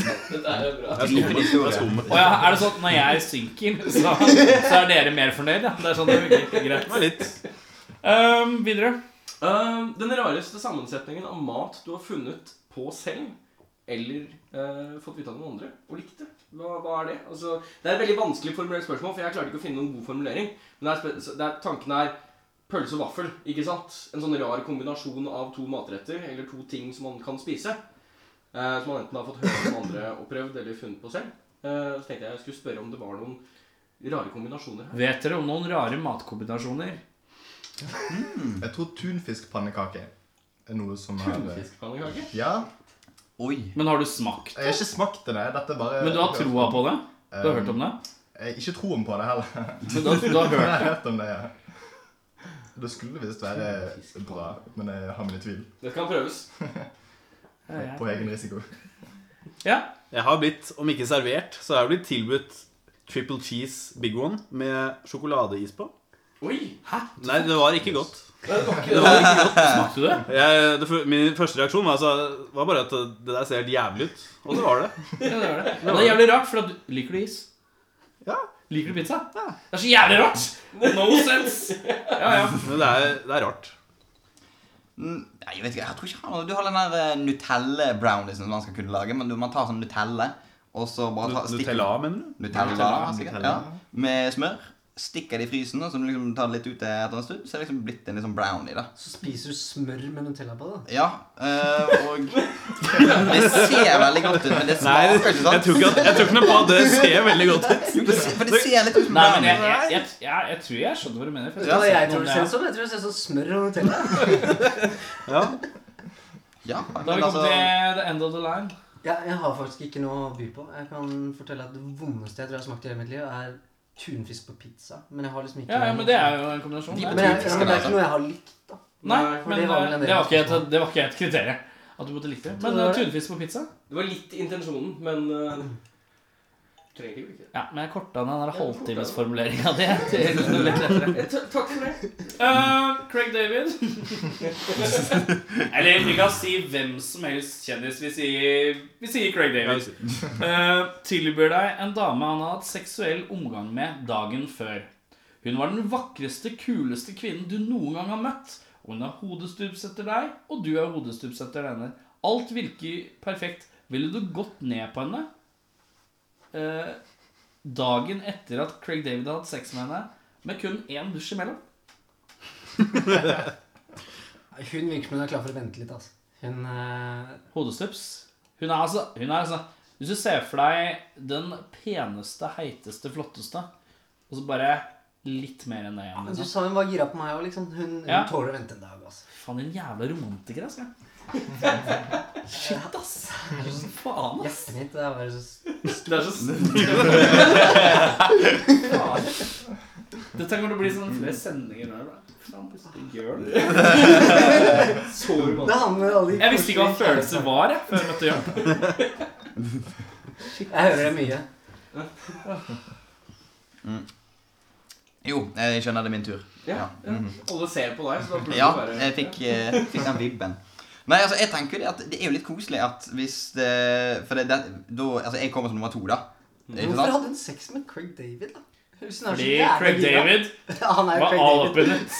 Jeg er skummel. Jeg er skummel.
Og ja, er det sånn at når jeg synker, så, så er dere mer fornøyd? Ja. Det er sånn det fungerer. Greit.
Litt.
Ehm, videre.
Øhm, Ehm, den rareste sammensetningen av mat du har funnet på selv, eller øh, fått vite av noen andre, og likte. Hva, hva er det? Altså, det er et veldig vanskelig formulert spørsmål, for jeg klarte ikke å finne noen god formulering. Men det er, spe- så det er, tanken er pølse og vaffel, ikke sant? En sånn rar kombinasjon av to matretter, eller to ting som man kan spise. eh, som man enten har fått høre om andre og prøvd, eller funnet på selv. Eh, så tenkte jeg jeg skulle spørre om det var noen rare kombinasjoner her.
Vet dere om noen rare matkombinasjoner?
Jeg tror tunfiskpannekake er noe som er
Tunfiskpannekake?
Ja.
Oi.
Men har du smakt?
Jeg har ikke smakt det, nei. Dette er bare Eh,
Men du har troa på det? Du har hørt om det?
Jeg har ikke troen på det heller.
Men du har, du har
Jeg
hørt
har hørt om det, ja. Det skulle visst være bra, men jeg har mine tvil.
Det kan prøves.
På egen risiko.
Jeg har blitt, om ikke servert, så har jeg blitt tilbudt triple cheese big one med sjokoladeis på.
Oi!
Nei, det var ikke godt.
Det var ikke det. var ikke godt.
Smakte du det?
Jeg, det, fu- min første reaksjon var, altså, var bare at det der ser helt jævlig ut. Og det var det.
Ja, det er det. Men det er jævlig rart, for at du Liker du is?
Ja.
Liker du pizza? Det er så jævlig rart! No sense! Ja, [LAUGHS] ja.
Men det er, det er rart.
Mm, Nei, jeg vet ikke, jeg tror ikke han har Du har den der eh, Nutelle-brownisen som man skal kunne lage, men du, man tar sånn Nutelle, og så bare ta, stikker-
Nutella, mener du?
Nutella,
Nutella,
sikkert,
Nutella.
ja. Med smør. Stikker det i frysen, og så liksom tar det litt ut etter en stund, så er det liksom blitt en litt sånn brownie, da.
Så spiser du smør med Nutella på, da.
Ja, eh, og Det ser veldig godt ut, men det
Nei,
smaker
jeg
ikke sånn. sant?
tror ikke, at, jeg tror ikke noe på at det ser veldig godt ut. [LAUGHS]
Jo, det ser, for det ser litt ut som
Nei, men jeg,
brownie.
jeg, jeg, jeg, jeg tror jeg skjønner hva du mener. For
Ja,
jeg,
jeg
har sett
tror
noen,
det
ja.
ser ut som jeg tror det ser ut som smør og Nutella.
Ja.
Da
Ja,
har
men
vi kommet
altså
til the end of the line.
Ja, jeg har faktisk ikke noe å by på. Jeg kan fortelle at Det vondeste jeg tror jeg har smakt i hele mitt liv, er tunfisk på pizza. Men jeg har liksom ikke
Ja, ja, men det er altså. jo en kombinasjon.
De
det.
Men jeg, ja, men det er ikke noe jeg har likt. da.
Nei,
Nei,
for
men eh,
det
det
var vel en del
var ikke
spørsmål.
et, det var ikke et kriterium. At du måtte like det. Men uh, tunfisk på pizza?
Det var litt intensjonen, men uh, trenger ikke bruke det.
Ja, men jeg korta ned den der halvtimesformuleringa di. til noe litt lettere.
Eh, [LAUGHS] ta- Takk for det.
Uh, Craig David. Eller vi kan si hvem som helst kjendis. Vi sier, vi sier Craig David. Uh, tilbyr deg en dame han har hatt seksuell omgang med dagen før. Hun var den vakreste, kuleste kvinnen du noen gang har møtt. Og Hun er hodestups etter deg, og du er hodestups etter henne. Alt virker perfekt. Ville du gått ned på henne eh, dagen etter at Craig David hadde hatt sex med henne, med kun én dusj imellom?
Hun virker som hun er klar for å vente litt. altså. Hun eh,
Hodestups. Hun er altså, hun er altså Hvis du ser for deg den peneste, heiteste, flotteste, og så bare litt mer enn det igjen.
Men Du
Liksom.
sa hun var gira på meg òg, liksom. Hun, hun
Ja.
tåler å vente en dag. altså.
Faen, din jævla romantiker, ass.
[LAUGHS]
Ja. Shit, ass.
Mm.
Faen, ass.
Hjertet mitt det er bare så...
Det er så [LAUGHS] Faen. Dette kommer til å bli sånn flere sendinger. der, da. Faen, hvis du gjør det. [LAUGHS] Så romantisk.
Det handler om alle de
Jeg visste ikke hva følelse var, jeg, før jeg møtte Jørn.
Jeg hører det mye.
Jo, jeg skjønner det er min tur.
Ja, ja. Alle ser på deg, så da burde
Ja,
du bare
jeg fikk, eh, fikk den vibben. Nei, altså, jeg tenker det at det er jo litt koselig at hvis det, For det, det, da Altså, jeg kommer som nummer to, da. Ikke
Hvorfor
sant?
hadde hun sex med Craig David, da? Hun er så
Fordi
jævla
Craig
gira.
David
[LAUGHS] Han er jo
var
Craig
all up
David.
in it.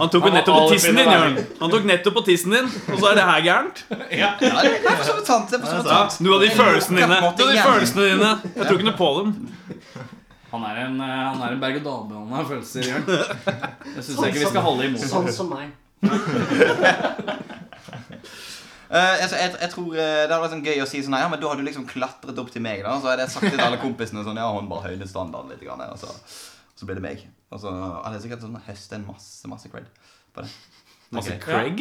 Han
Han
tok jo
var
nettopp på
all
tissen
oppe i
din,
det
Jørn. Han tok nettopp på tissen din, og så er det her gærent.
Ja, det er for så vidt sant. Det er for så vidt
Ja,
sant.
noe av de følelsene dine. Noe av de følelsene dine. Jeg tror ikke noe på dem.
Han er en, eh, han er en berg-og-dal-bane av følelser, Jørn. Det syns jeg ikke vi skal holde imot.
Sånn som meg.
Eh, altså, jeg, jeg tror eh, Det hadde vært sånn gøy å si sånn Ja, men da har du liksom klatret opp til meg, da. Så hadde jeg sagt til alle kompisene sånn Ja, han bare høynet standarden litt. Grann, her», og så, så blir det meg. Og så hadde jeg sikkert sånn høstet en masse, masse cred på det. Ok.
Masse Altså, Craig.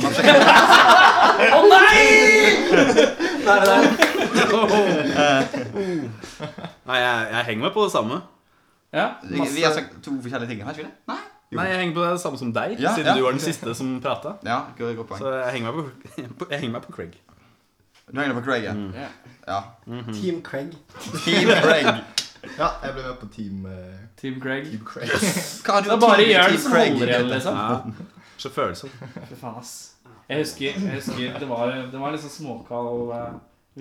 Masse cred.
Nei, nei.
Nei, jeg, jeg henger meg på det samme.
Ja,
Vi vi har sagt to forskjellige ting, har vi ikke det? Nei?
Nei, jeg henger på det samme som deg,
Ja,
siden
ja.
du var den siste som prata.
Ja, godt godt poeng.
Så jeg henger meg på, [LAUGHS] jeg henger meg på Craig.
Du henger på Craig, ja. ja.
Team Craig.
[LAUGHS] Team Craig.
Ja, jeg ble med på Team, eh,
Team Craig.
team Craig.
Hva har du
Det er bare
team-
Jørn
team
som
Craig?
holder igjen, liksom.
Så følsom.
Fy faen, ass. Jeg husker, jeg husker det, var, det var liksom småkald eh,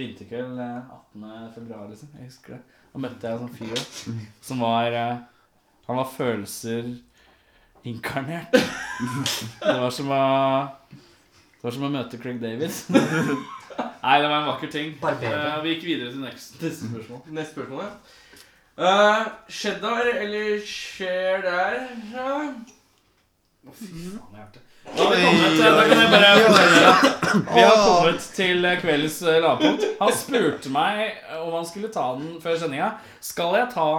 vinterkveld eh, 18. februar, liksom. Jeg husker det. Da møtte jeg en sånn fyr som var eh, Han var følelser inkarnert. Det var som å Det var som å møte Craig David. Nei, det var en vakker ting.
Barberer.
Eh, Vi gikk videre til next- neste spørsmål.
Neste spørsmål, ja. Uh, cheddar eller skjer der
Da har vi kommet til, da kan jeg bare fortelle. Vi har kommet til kveldens eh, lavpunkt. Han spurte meg om han skulle ta den før sendinga. Skal jeg ta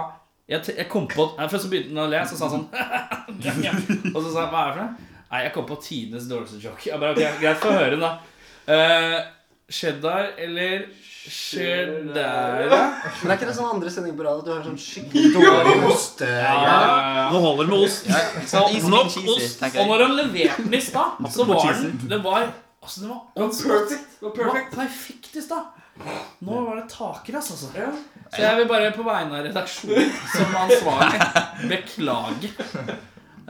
jeg, t jeg kom på nei, Først så begynte han å le, så sa [LAUGHS] han sånn Og så sa jeg hva er det for noe? Nei, jeg kom på tidenes dårligste joke. Jeg bare, ok, Greit, få høre den, da. Eh, cheddar eller cheddar?
Men er ikke det sånn andre sendinger på radio at du har sånn
[LAUGHS]
skikkelig dårlig
Ja,
ostegreier?
ja, ja.
Nå holder det med ost.
Ja, ikke sant? Easy,
Nok
cheesy,
ost.
tenker
Og
jeg.
når han leverte den i stad, så var den Det var Altså, det var
Perfect. Det var
Det var
perfect.
perfekt i stad. Nå var det takrass, altså.
Ja.
Så jeg vil bare på vegne av redaksjonen som ansvarlig beklage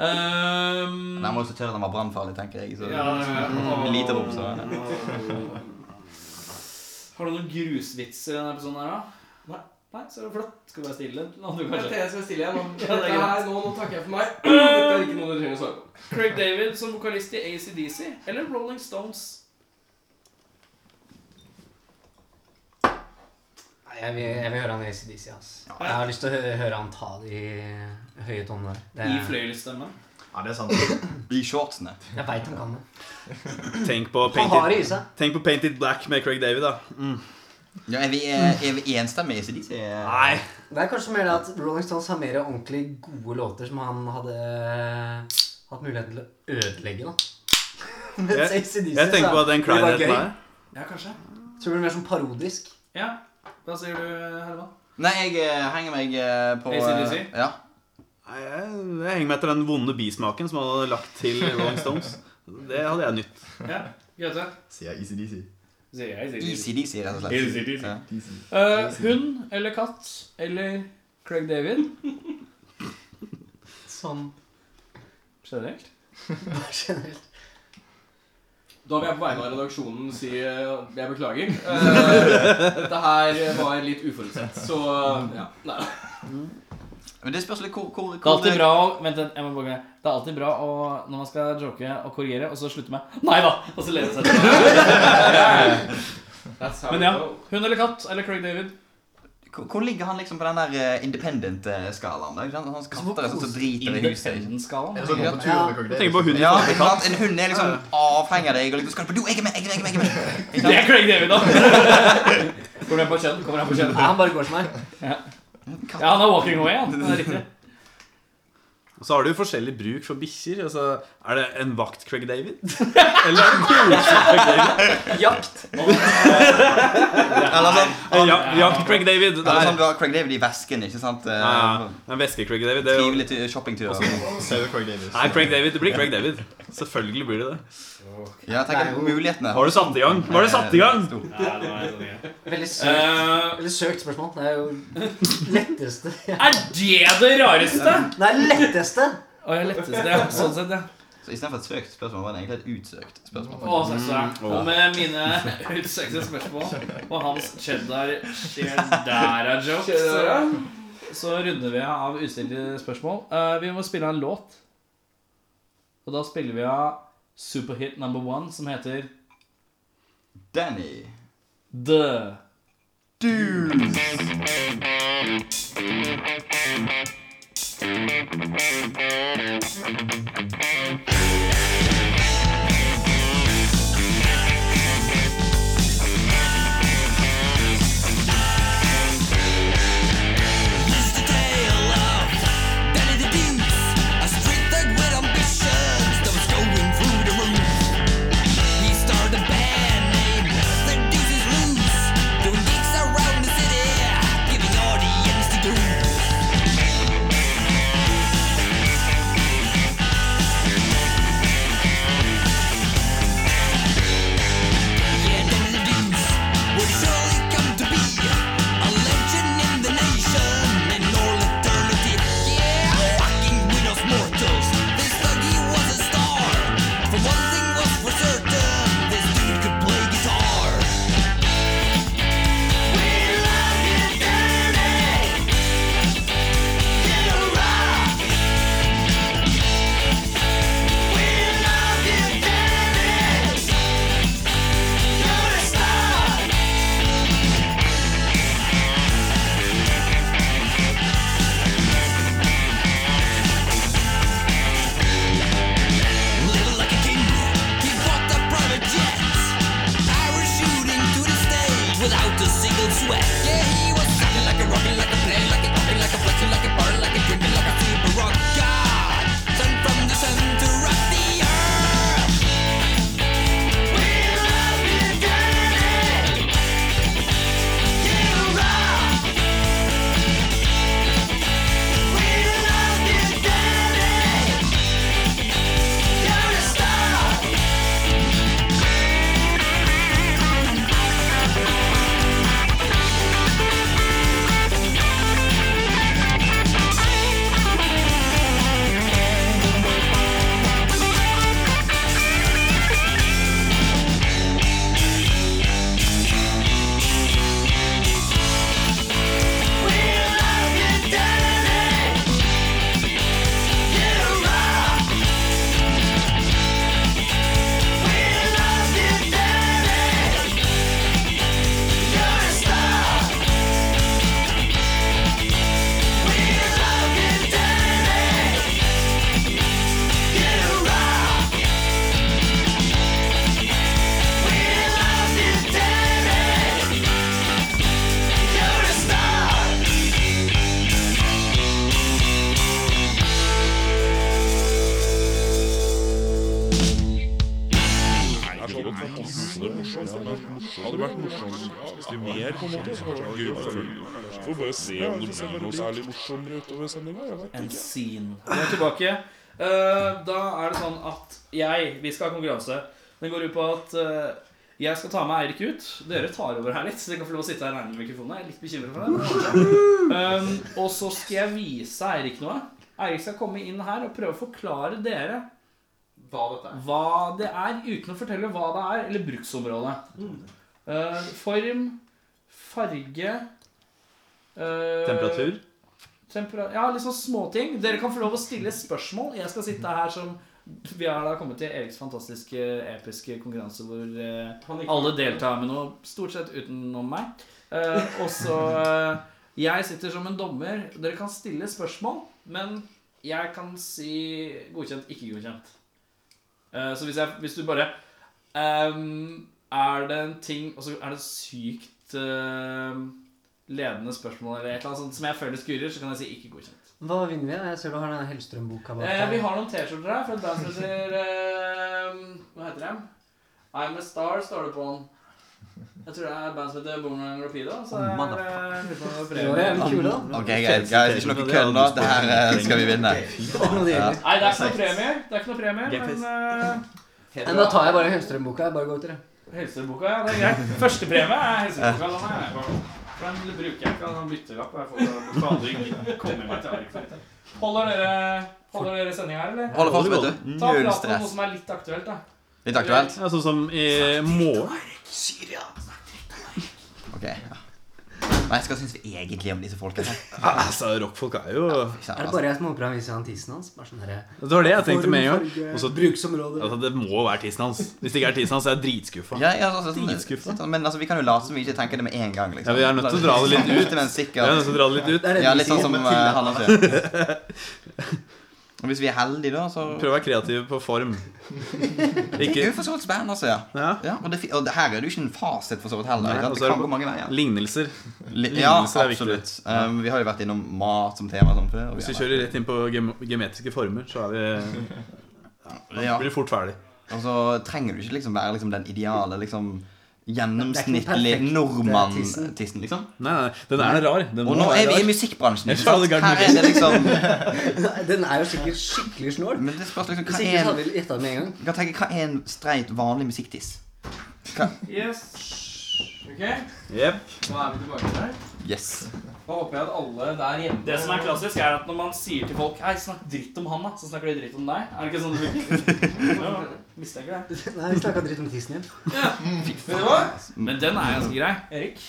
Ehm,
Den var også tørr at den var brannfarlig, tenker jeg. Så
Ja, ja, ja.
lite rom, så
Har du noen grusvitser i denne episoden her, da? Nei, Nei så er det flott. Skal du være stille? Nå hadde du
Jeg
kanskje.
tenker jeg skal stille igjen nå.
Ja, det er
Dette her, nå, nå takker jeg for meg. Dette er ikke noe du trenger å svare på.
Craig David som vokalist i ACDC eller Rolling Stones?
Nei, Jeg vil, jeg vil høre han i ACDC. ass. Jeg har lyst til å hø- høre han ta de høye tonene der. Det-
I fløyelsstemme.
Ja, det er sant.
I shortsene.
Jeg veit han kan det.
Tenk på
Han har
Painted,
det i seg.
tenk på Painted Black med Craig David, da.
Ja, er, vi, eh, er vi enstemmige i ACDC?
Nei.
Det er kanskje mer det at Rolling Stones har mer ordentlig gode låter som han hadde hatt muligheten til å ødelegge, da. [LAUGHS] Mens
Jeg-
ACDC
Jeg tenker på den Cry-daten der.
Ja, kanskje.
Tror det blir mer sånn parodisk.
Ja. Hva sier du, Herman?
Nei, jeg eh, henger meg eh, på
AC/DC?
eh, Ja.
Nei, Jeg, jeg henger meg etter den vonde bismaken som han hadde lagt til Rolling Stones. Det hadde jeg nytt.
Ja, Gaute?
Sier jeg ECDC.
[LAUGHS] Sier jeg, sier jeg.
ACDC, rett og slett.
AC/DC.
Ja.
Eh, hund eller katt eller Craig [LAUGHS] David?
Sånn
Generelt.
generelt.
Da vil jeg på vegne av redaksjonen si eh, jeg
[LAUGHS]
beklager. Eh, Dette her var litt uforutsett, så eh, ja. Nei.
Men det spørs litt hvor, hvor,
Det er
hvor
alltid bra å Vent, litt, jeg må bare Det er alltid bra å, når man skal joke og korrigere, og så slutte med Nei da! Og så lede seg til
That's how
Men
it
ja.
goes.
Hund eller katt eller Craig David?
Hvor, hvor ligger han liksom på den der independent-skalaen? da? Ikke sant?
Altså,
Hans katter er sånn som driter i huset.
Jeg
Independent-skalaen.
skal gå på tur med Craig
Jeg
David.
tenker på hunden
Ja,
som hadde
ikke
katt.
sant? En hund er liksom avhengig av deg. Og liksom skal du på do? Jeg er med! Jeg er med! Jeg er
[LAUGHS]
med, jeg er med.
Det er Craig David, da! [LAUGHS] Kommer han på kjønn? Kommer han på kjønn?
Nei, han bare går som her.
Ja, han er walking away, han. Det er riktig.
Og Så har du jo forskjellig bruk for bikkjer. Altså, er det en vakt Craig [LAUGHS] David? Eller en koselig Craig David?
Jakt.
Eller sånn,
En ja, jakt Craig David.
eller
Der.
sånn du har Craig David i vesken, ikke sant? Eh,
Ja, en veske Craig David. Det er jo...
Trivelig til- shoppingtur. sånn.
Sauer Craig Davis.
Nei, Craig David. Det blir Craig David. Selvfølgelig blir det det.
Ja, tenk mulighetene.
Har du satt i gang? Var det satt i gang?
Veldig søkt.
Eh,
Veldig søkt spørsmål. Det er jo letteste [LAUGHS]
er det det rareste?
Nei, letteste!
Å, jeg letteste, ja. Sånn sett, ja.
Så Istedenfor et søkt spørsmål var det egentlig et utsøkt spørsmål.
Å, så søkt. Og med mine utsøkte spørsmål og hans cheddar cheddara-jokes
Cheddara?
så runder vi av ustilte spørsmål. Eh, vi må spille av en låt. Og da spiller vi av superhit number one, som heter
Danny.
The
Danny
Det hadde vært morsomt hvis de mer på en måte så kanskje gruppa full. Så får vi bare se om det blir noe særlig morsommere utover sendinga. Jeg vet
En
ikke.
scene. Vi er tilbake. Eh, da er det sånn at jeg Vi skal ha konkurranse. Den går ut på at eh, jeg skal ta med Eirik ut. Dere tar over her litt. Så dere kan få lov å sitte her nærme mikrofonen. Jeg er litt bekymret for det. Um, og så skal jeg vise Eirik noe. Eirik skal komme inn her og prøve å forklare dere
Hva dette er.
hva det er, uten å fortelle hva det er, eller bruksområdet.
Mm.
Eh, form, farge eh,
Temperatur.
Tempera ja, liksom småting. Dere kan få lov å stille spørsmål. Jeg skal sitte her som Vi har da kommet til Eriks fantastiske episke konkurranse hvor eh, alle deltar med noe stort sett utenom meg. Eh, og så eh, Jeg sitter som en dommer. Dere kan stille spørsmål, men jeg kan si godkjent, ikke godkjent. Eh, så hvis, jeg, hvis du bare ehm, Er det en ting Og så er det sykt ehm, ledende spørsmål eller et eller annet sånt som jeg føler skurrer, så kan jeg si ikke godkjent.
Hva vinner vi? Jeg ser du har denne Hellstrøm-boka bak
Eh, vi
deg.
har noen T-skjorter her fra Dancers eh, Hva heter de? I'm a Star står det på den. Jeg tror det er et band som heter Boomerang Rapido. Så eh, er
Oh,
det
motherfucker.
litt sånn
Det var
premie.
jævlig kule, da.
Ok, guys, guys, ikke noe køll nå. Det her eh, skal vi vinne.
Det var noe
Ja.
jævlig.
Nei, det er ikke noe premie. Det er ikke noe premie,
Det er
men eh,
Men da tar jeg bare Hellstrøm-boka. Jeg bare går til det.
helseboka, ja, det er greit. Førstepremie er helseboka. Den har jeg bare- for Den bruker jeg ikke, den har byttelapp. og Jeg får forandring. Kommer meg til Arik. Holder dere, holder dere sending her, eller?
Holder fast, vet du.
Ta
Null
prat om noe
stress.
som er litt aktuelt, da.
Litt aktuelt?
Ja, sånn som i morgen.
Ok. ja. Nei, hva syns vi egentlig om disse folkene?
[LAUGHS]
her?
Altså, rockfolk er jo
Er
Fy søren,
det
altså.
bare jeg som håper han viser han tissen hans? Bare sånn herre
Det var det jeg tenkte med en gang.
Farge,
Og så-
Bruksområder.
Altså, det må være tissen hans. Hvis det ikke er tissen hans, er jeg dritskuffa.
Ja, ja, altså, sånn,
Dritskuffa.
sånn, men altså, vi kan jo late som vi ikke tenker det med en gang. liksom.
Ja, vi er nødt til å dra det litt ut.
Sakte, Men
Jeg er nødt
sikkert.
til å dra det litt ut.
Det er det
Ja,
vi
litt sånn
sier.
som eh, han har skjedd. Og Hvis vi er heldige, da, så
Prøv å være kreativ på form.
Det er
Ikke
jo for så vidt spennende, altså. Ja.
Ja.
Ja, og, det, fi- og det her er det jo ikke en fasit, for så vidt heller.
Nei,
ikke sant?
og så er
det
det
kan gå
på-
mange veier.
lignelser.
Li- Ja,
lignelse er viktig.
absolutt. Um, vi har jo vært innom mat som tema. Sånn, før, og
Hvis
har
vi
vært-
kjører rett inn på gem- geometriske former, så er vi,
ja,
blir vi fort ferdig.
Og så trenger du ikke liksom være liksom, den ideale liksom,
Det er
gjennomsnittlige
ikke den perfekte tissen.
nordmann-tissen, liksom.
Nei, nei, den er rar. Den
Og
må
nå
være
er vi i
rar.
musikkbransjen.
Jeg
Ikke
skjønner
sant?
det ikke.
Her er det liksom
[LAUGHS]
Nei, [LAUGHS] Den er jo sikkert skikkelig snål.
Men det spørs liksom hva
Hvis
er
ikke så
en,
hadde vi gjetta den med en gang. [LAUGHS]
jeg kan tenke, hva er en streit, vanlig musikktiss?
Ok,
Jep.
nå er vi tilbake der.
Yes.
Da håper jeg at alle der hjemme
Det som er klassisk, er at når man sier til folk Hei, snakk dritt om han, da. Så snakker de dritt om deg. Er det ikke sånn det funker? Ja, Mistenker det.
Nei, vi snakka dritt om tissen igjen.
Vet du hva?
Men den er ganske grei. Erik?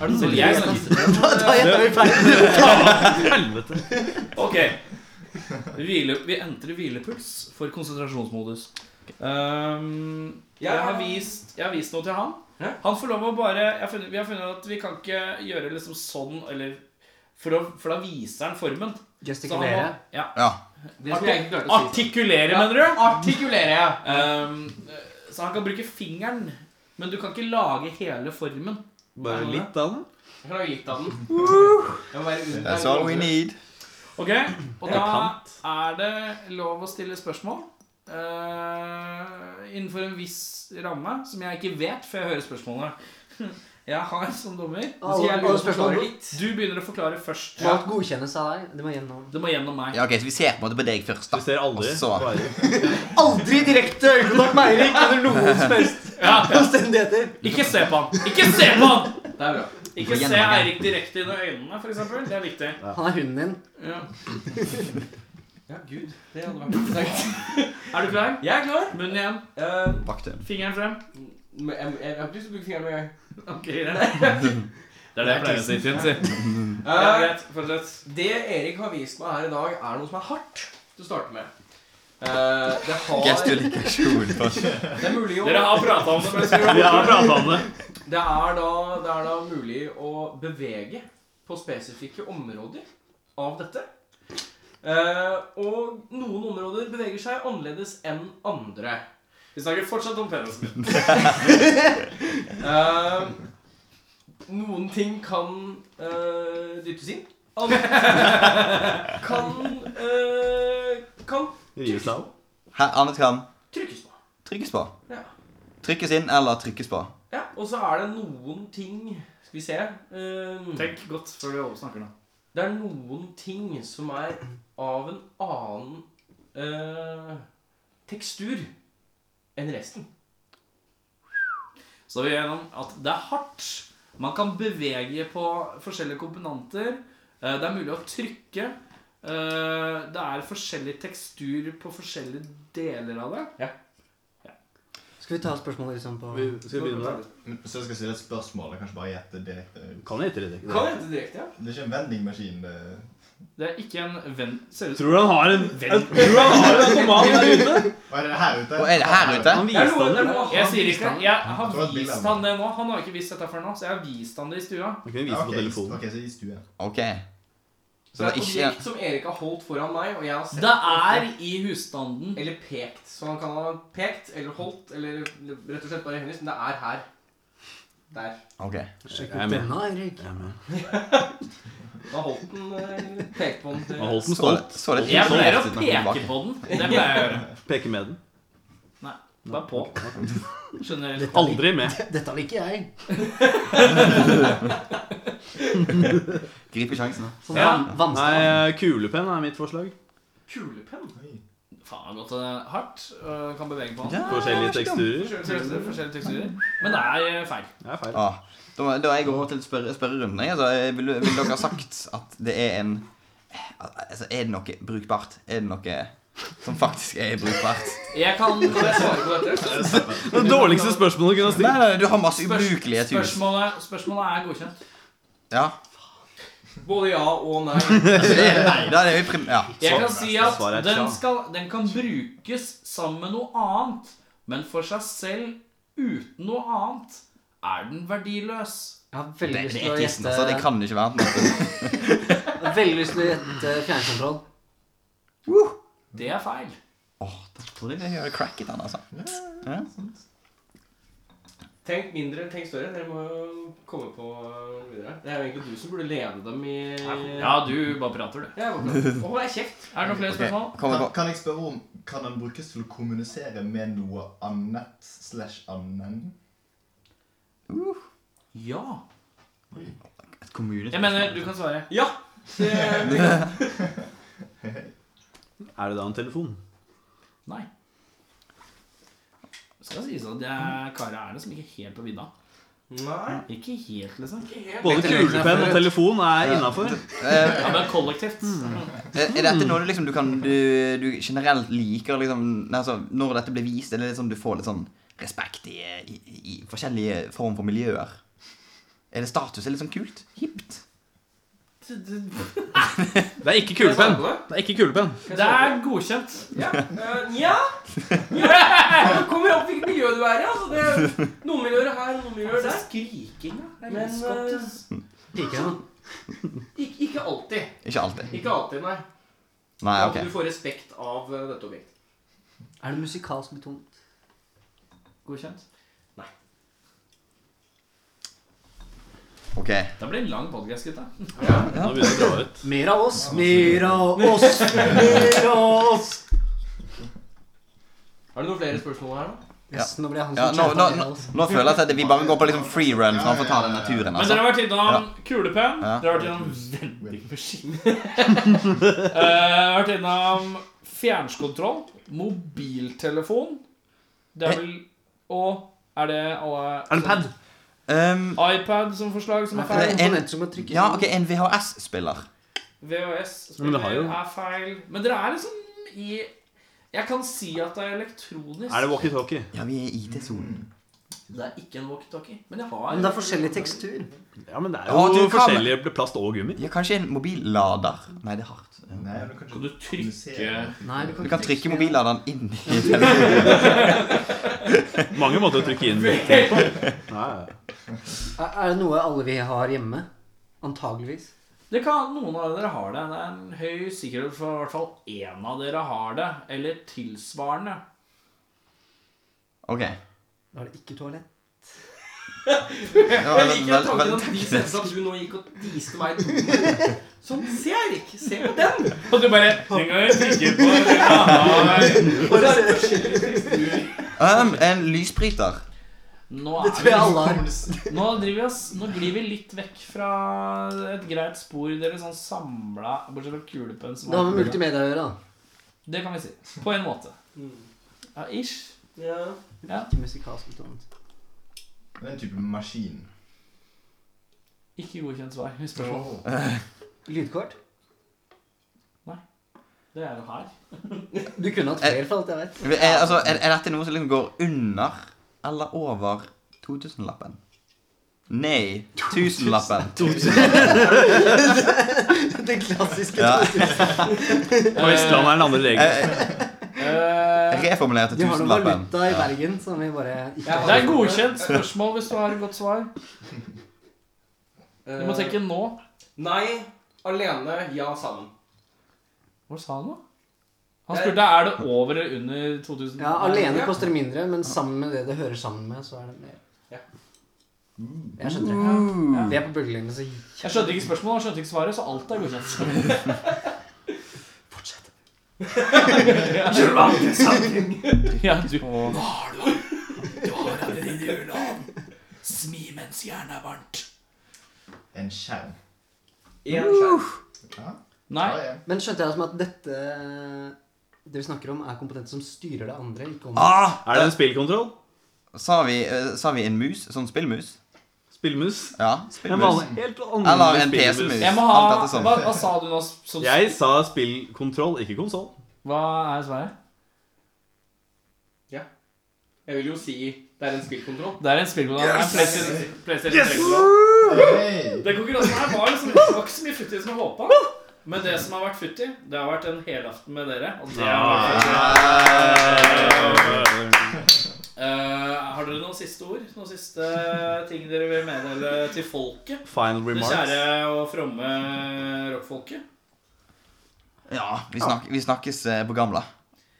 Er det
Så
noe
jeg
jeg snakker
kan-
Da gjetta vi feil. [LAUGHS]
Helvete.
Ok. Hvile, vi entrer hvilepuls for konsentrasjonsmodus. Ehm, jeg, har vist, jeg har vist noe til han.
Ja.
Han får lov å bare jeg har funnet, Vi har funnet at vi kan ikke gjøre liksom sånn eller for, å, for da viser han formen. Så han må-
Gestikulere.
Ja.
Ja.
Det som jeg ikke klarte å si.
Artikulere, mener du?
Artikulere, ja.
Ehm, så han kan bruke fingeren, men du kan ikke lage hele formen.
Bare litt av den.
Jeg kan lage litt av den. Jeg må være under
That's all we need.
Ok, Og da er det lov å stille spørsmål. eh, innenfor en viss ramme, som jeg ikke vet før jeg hører spørsmålene. [LAUGHS] Jeg har som dommer
Nå skal jeg begynne
Alle
å forklare
spørsmål
litt.
Du begynner å forklare først.
må alt godkjennes av deg. Det må gjennom
Det må gjennom meg.
Ja, ok, Så vi ser på en måte på deg først,
Du
da.
ser aldri.
Og så-
Bare.
Aldri direkte øyekontakt med Eirik under noen som helst
Ja, ja.
omstendigheter.
Ikke se på han! Ikke se på han!
Det er bra.
Ikke se Eirik direkte inn i øynene, for eksempel Det er viktig.
Han er hunden din.
Ja.
Ja, gud. Det hadde vært interessant.
Er du klar?
Jeg er klar.
Munnen igjen.
Eh,
Vakter.
Fingeren frem.
men jeg, jeg, jeg har ikke lyst til å bruke fingeren med en gang.
[LAUGHS] Ok, greit. Det er det jeg pleier å si. Finn, si. Ja,
Eh,
greit. Fortsett.
det Erik har vist meg her i dag, er noe som er hardt til å starte med. Eh,
[LAUGHS]
det har
Gestilikasjon.
[LAUGHS]
Det er mulig å
Dere har prata om det. men skal vi-
Vi har prata om det.
Det er, da, det er da mulig å bevege på spesifikke områder av dette. Eh, og noen områder beveger seg annerledes enn andre.
Vi snakker fortsatt om penisen.
Eh, noen ting kan eh, dyttes inn. Andre [LAUGHS] kan eh, kan
Rives av.
Her, Annet kan
trykkes på.
trykkes på.
Ja.
Trykkes inn eller trykkes på.
Ja. Og så er det noen ting Skal vi se eh,
Tenk godt før du oversnakker nå.
Det er noen ting som er av en annen eh, tekstur enn resten.
Så er vi gjennom at det er hardt. Man kan bevege på forskjellige komponenter. Eh, Det er mulig å trykke. Eh, Det er forskjellig tekstur på forskjellige deler av det.
Skal vi ta spørsmålet liksom på
Vi skal vi begynne med det.
Men, så jeg skal stille et spørsmål. Jeg kan ikke bare gjette direkte.
Kan jeg ikke det?
Kan jeg hente direkte, ja?
Det er ikke en vendingmaskin. eh. det.
Det er ikke en venn... Ser ut som
Tror du han har en Jeg Tror du han har en automat der ute?
Og er det her ute?
Og er det her ute?
Han
Det er
viste
noe, det
han det.
er noe
Jeg sier ikke Jeg har
Jeg tror det er bildet av
vist han det nå. Han har ikke vist dette før nå, så jeg har vist han det i stua.
Han kunne
Ja,
vise
ok,
på telefonen.
Ok, så i stuen.
Ok. Så
Det er
det
et
er ikke
objekt som Erik har holdt foran meg, og jeg har sett
Det er i husstanden.
eller pekt. Så han kan ha pekt eller holdt eller rett og slett bare henvist, men det er her. Der.
Ok.
Sjekk
Jeg er
ut
med.
denne, Eirik.
Da holdt den eh, pekt på den.
Han
til-
holdt den
Så
stolt.
det- så det
Jeg pleier å
imponert ut når hun
peke
tilbake.
på den. Det pleier jeg å gjøre.
Peker med den.
Bare på. Skjønner du?
Aldri med.
Dette liker jeg.
Gripe sjansen. da.
Sånn
Ja.
van- vannstand.
[LAUGHS] Nei, eh, kulepenn er mitt forslag.
Kulepenn?
Faen, det har gått eh, hardt. øh, Kan bevege på den.
Forskjellige teksturer.
Forskjellige forskjellige teksturer. Men det er eh, feil.
Det er feil.
Ah, da, da jeg går over til spørre, spørrerunden jeg, altså, jeg vil, vil dere ha sagt at det er en Altså, er det noe brukbart? Er det noe som faktisk er brukbart?
Jeg kan
Kan jeg svare på dette?
Det dårligste spørsmålet du
Nei,
kunne ha stilt.
nei, du har masse ubrukelige tusen.
Spørsmålet, spørsmålet er godkjent.
Ja.
Både ja og nei.
Altså, det er, nei, da er det jo prim... Ja.
Jeg kan si at
Svaret er
den,
tja.
skal, den kan brukes sammen med noe annet, men for seg selv uten noe annet er den verdiløs.
Jeg har veldig
Det
lyst
det
til å
er tissen, altså. Det
gjette
kan jo ikke være noe.
jeg har Veldig lyst til å gjette fjernkontroll.
Det er feil.
Åh, da tror jeg jeg gjør crack i den, altså. Ja.
Tenk mindre, tenk større. Dere må jo komme på videre. Det er jo egentlig du som burde lede dem i
Ja, du bare prater, du.
Ja, jeg var klar. Å, hold deg kjeft!
Er det noen flere
Ok,
spørsmål?
kommer
Kan,
på.
kan jeg spørre om Kan den brukes til å kommunisere med noe annet slash annen?
Ja.
Et kommune-
Jeg mener, du kan svare.
Ja! Det,
Er det da en telefon?
Nei. Det skal sies at jeg karet er liksom ikke helt på vidda.
nei.
Ikke helt, liksom.
Både kulepenn og telefon er innafor.
Eh,
Ja, men kollektivt.
Er er dette noe du liksom du kan Du, du generelt liker liksom nei, altså, Når dette blir vist, er det liksom du får litt sånn respekt i, i, i forskjellige form for miljøer? Er det status? Er det litt sånn kult? Hipt?
Det er ikke kulepenn. Det er ikke kulepenn.
Det er godkjent.
Ja. eh, Nja ja. Du kommer opp hvilket miljø du er i. Altså. Det, noen miljøer er her, noen miljøer er der.
Skriking, da.
Men eh,
Liker jeg den.
ikke, ikke alltid.
Ikke alltid.
Ikke alltid, nei.
Nei,
At
ok.
Du får respekt av eh, dette objektet.
Er det musikalsk betont?
Godkjent.
ok
Det blir en lang podkast, gutta.
Nå begynner det å dra ut.
Mer av oss, mer av oss, mer av oss.
Er det noen flere spørsmål her, da?
Yes, nå ble jeg han
ja,
som
nå, nå,
kjefta mer
nå,
av oss.
nå føler jeg at vi bare går på liksom free run framfor å ta den
Men
turen.
dere
Altså.
har vært innom kulepenn.
Ja.
Dere har vært innom vendingmaskin. [LAUGHS] Eh, vært innom fjernkontroll, mobiltelefon Det er vel Og er det alle
Er det en pad?
Um,
iPad som forslag som er
Det er
feil?
komponenter som må trykkes
ja,
inn.
ok, en VHS-spiller.
VHS
Men det har
spiller
jo-
altså, er feil. Men dere er liksom i Jeg kan si at det er elektronisk.
Er det walkietalkie?
Ja, vi er i IT-sonen.
Det er ikke en walkietalkie. Men jeg har
Men det er forskjellig tekstur.
Ja, men det er
Ja,
jo
du kan-
forskjellige plast og gummi.
Ja, kanskje en mobillader. Nei, det er hardt.
Nei, du kan ikke
Kan du [LAUGHS] trykke
kommunisere.
Nei,
Du kan trykke
tekst-
mobilladeren inn i telefonen.
Mange måter å trykke [LAUGHS] inn ting på. Nei,
Er er det noe alle vi har hjemme? Antageligvis.
Det kan, Noen av dere har det. Det er en høy sikkerhet for i hvert fall én av dere har det. Eller tilsvarende.
Ok.
Da er det ikke
[LAUGHS]
toalett.
Ja,
Jeg
vel-
liker
vel-
tanken
vel-
at de
sånn.
sensa du nå gikk og diste meg i tonen. Sånn, se Erik, se på den!
Og du bare Den kan jeg trykke på. den kan jeg ha.
Um, en Ehm, lysbryter.
Nå,
Det
er
tror
vi,
jeg alle har.
nå, driver vi oss, nå glir vi litt vekk fra et greit spor dere sånn samla Bortsett fra kulepønn. som
Det har
er-
med multimedia å gjøre, da.
Det kan vi si. På en måte. Ja, ish.
Ja.
Ja.
Ikke musikalsk bestemt.
Det er en type maskin.
Ikke godkjent svar. Spørsmål.
Lydkort?
Det er jo her.
Du kunne
Eh.
hatt flere, for alt jeg vet.
Er, altså, er, er dette noe som liksom går under eller over 2000-lappen? Nei, 1000-lappen.
Den klassiske
Ja. [LAUGHS]
På Vestlandet er den andre regelen.
Reformulerte
De har noe
1000-lappen.
valuta i Bergen som vi bare ikke
Det er godkjent spørsmål hvis du har et godt svar. Du
Eh.
må tenke nå.
Eh, Nei, alene, ja, sammen.
Hva sa han nå? Han spurte er det over eller under 2000.
Ja, Alene koster mindre, men sammen med det det hører sammen med, så er det mer.
Ja.
Jeg skjønner det.
Uh,
Vi er på bølgelengde, så
Jeg skjønte ikke spørsmålet, han skjønte ikke svaret, så alt er godkjent. [LAUGHS] Fortsett. ja, sånn du Hva har du? Du har allerede juleovn. Smi mens jernet er varmt.
En skjerm.
Én skjerm.
Nei,
Ja, ja.
Men skjønte jeg det som at dette Det vi snakker om, er kompetente som styrer det andre, ikke om
ah,
Er det en spillkontroll?
sa, vi, eh, sa vi en mus? Sånn spillmus?
Spillmus?
Ja,
En
spillmus.
vanlig, helt
Eller en
alminnelig spillmus.
PC-mus.
jeg må
Alt
ha
dette sånn.
Hva, hva sa du nå? Så,
Jeg sa spillkontroll, ikke konsoll.
hva er svaret?
Jeg vil jo si det er en spillkontroll.
Det er en spillkontroll. det er en PlayStation- PlayStation 3-kontroll.
Hey.
Den konkurransen her var liksom Det var ikke så mye futti som jeg håpa. Men det som har vært futti, det har vært en helaften med dere. Og det har vært futti. Eh, har dere noen siste ord? Noen siste ting dere vil meddele til folket?
Final
Det
remarks.
kjære og fromme rockfolket?
Ja, vi, snak, vi snakkes eh, på [LAUGHS] gamla.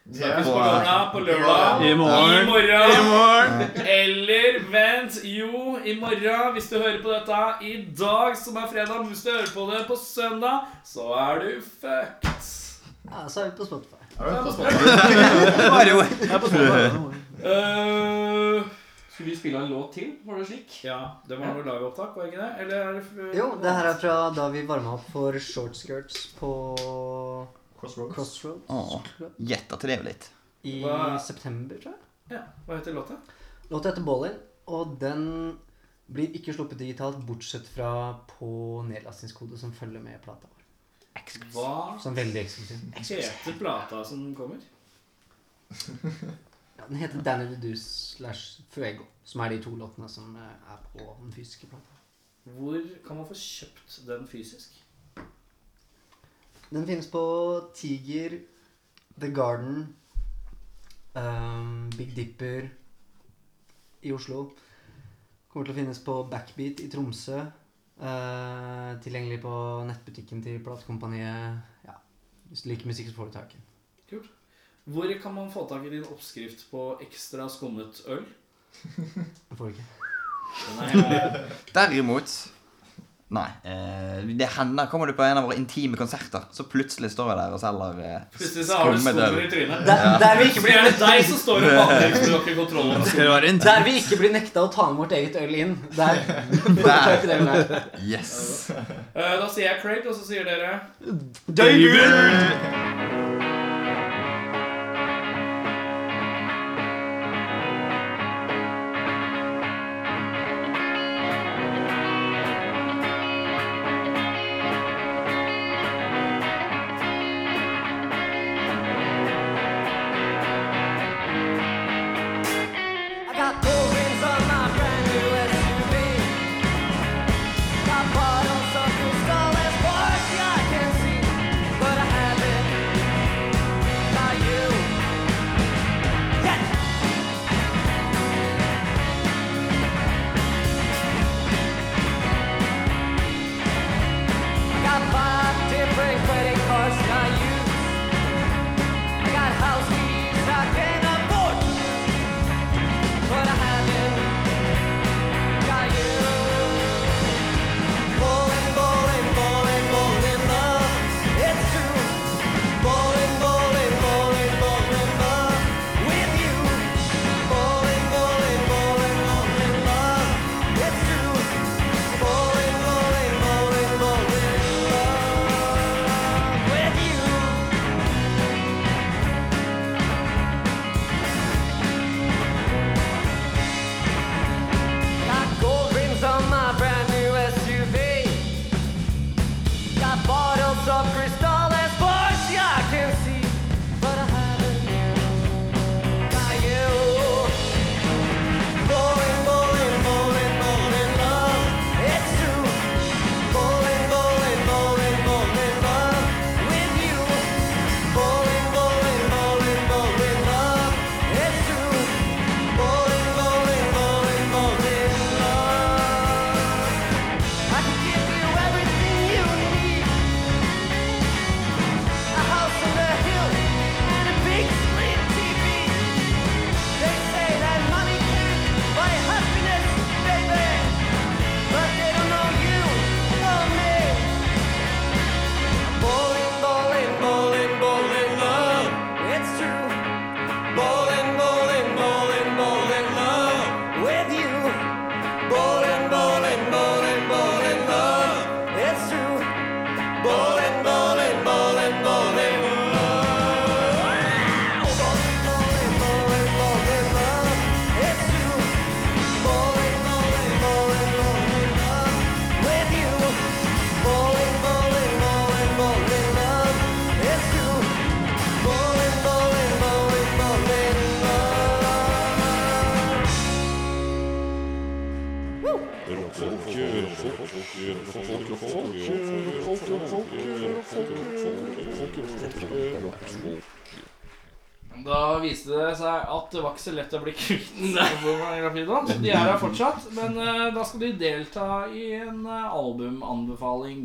Yeah.
På lørdag, på lørdag,
eh, I
i
morgen.
morgen Eller vent, jo, i morgen hvis du hører på dette i dag, som er fredag, men hvis du hører på det på søndag, så er du fucked.
Ja, så er vi på Spotify.
Hva [LAUGHS] er det jo?
Eh,
Skulle vi spille en låt til? Var det slik?
ja, det var noe liveopptak, var det ikke det? Eller er det
Jo, det her er fra da vi varma opp for shortskirts på
Crossroads.
Crossroads
Åh.
Club
Gjett at det er litt.
i
Hva-
september, tror jeg.
Ja, Hva heter låta?
Låta heter Ballin, og den blir ikke sluppet digitalt, bortsett fra på nedlastingskode som følger med plata vår.
Hva
Som er veldig eksklusiv.
heter plata som kommer?
Ja, den heter Danny the Deuce slash Fuego, som er de to låtene som eh, er på den fysiske plata.
Hvor kan man få kjøpt den fysisk?
Den finnes på Tiger, The Garden, ehm, Big Dipper i Oslo. Kommer til å finnes på Backbeat i Tromsø. eh, tilgjengelig på nettbutikken til Platekompaniet. Ja, hvis du liker musikk, så får du tak i den.
Hvor kan man få tak i din oppskrift på ekstra skummet øl?
Den Får du ikke.
Derimot Nei. Eh, det hender kommer du på en av våre intime konserter, så plutselig står jeg der og selger [LAUGHS] eh,
Plutselig så har du
Skummet øl.
skummer i trynet.
Der, der, vi
Ikke
ikke
blir
blir,
det deg som står og baker når du har ikke kontroll over det.
Skal det være en
der vi ikke blir nekta å ta med vårt eget øl inn. Der får du tak i det ølet. her.
Yes.
Eh, Da sier jeg Craig, og så sier dere
I got gold rings on my brand new SUV. Got bottles of Cristal and Porsche I can see, but I haven't
Da viste det seg at det var ikke så lett å bli [LAUGHS] kvitt pornografidon. Så de er her fortsatt. Men eh, da skal de delta i en eh, albumanbefaling.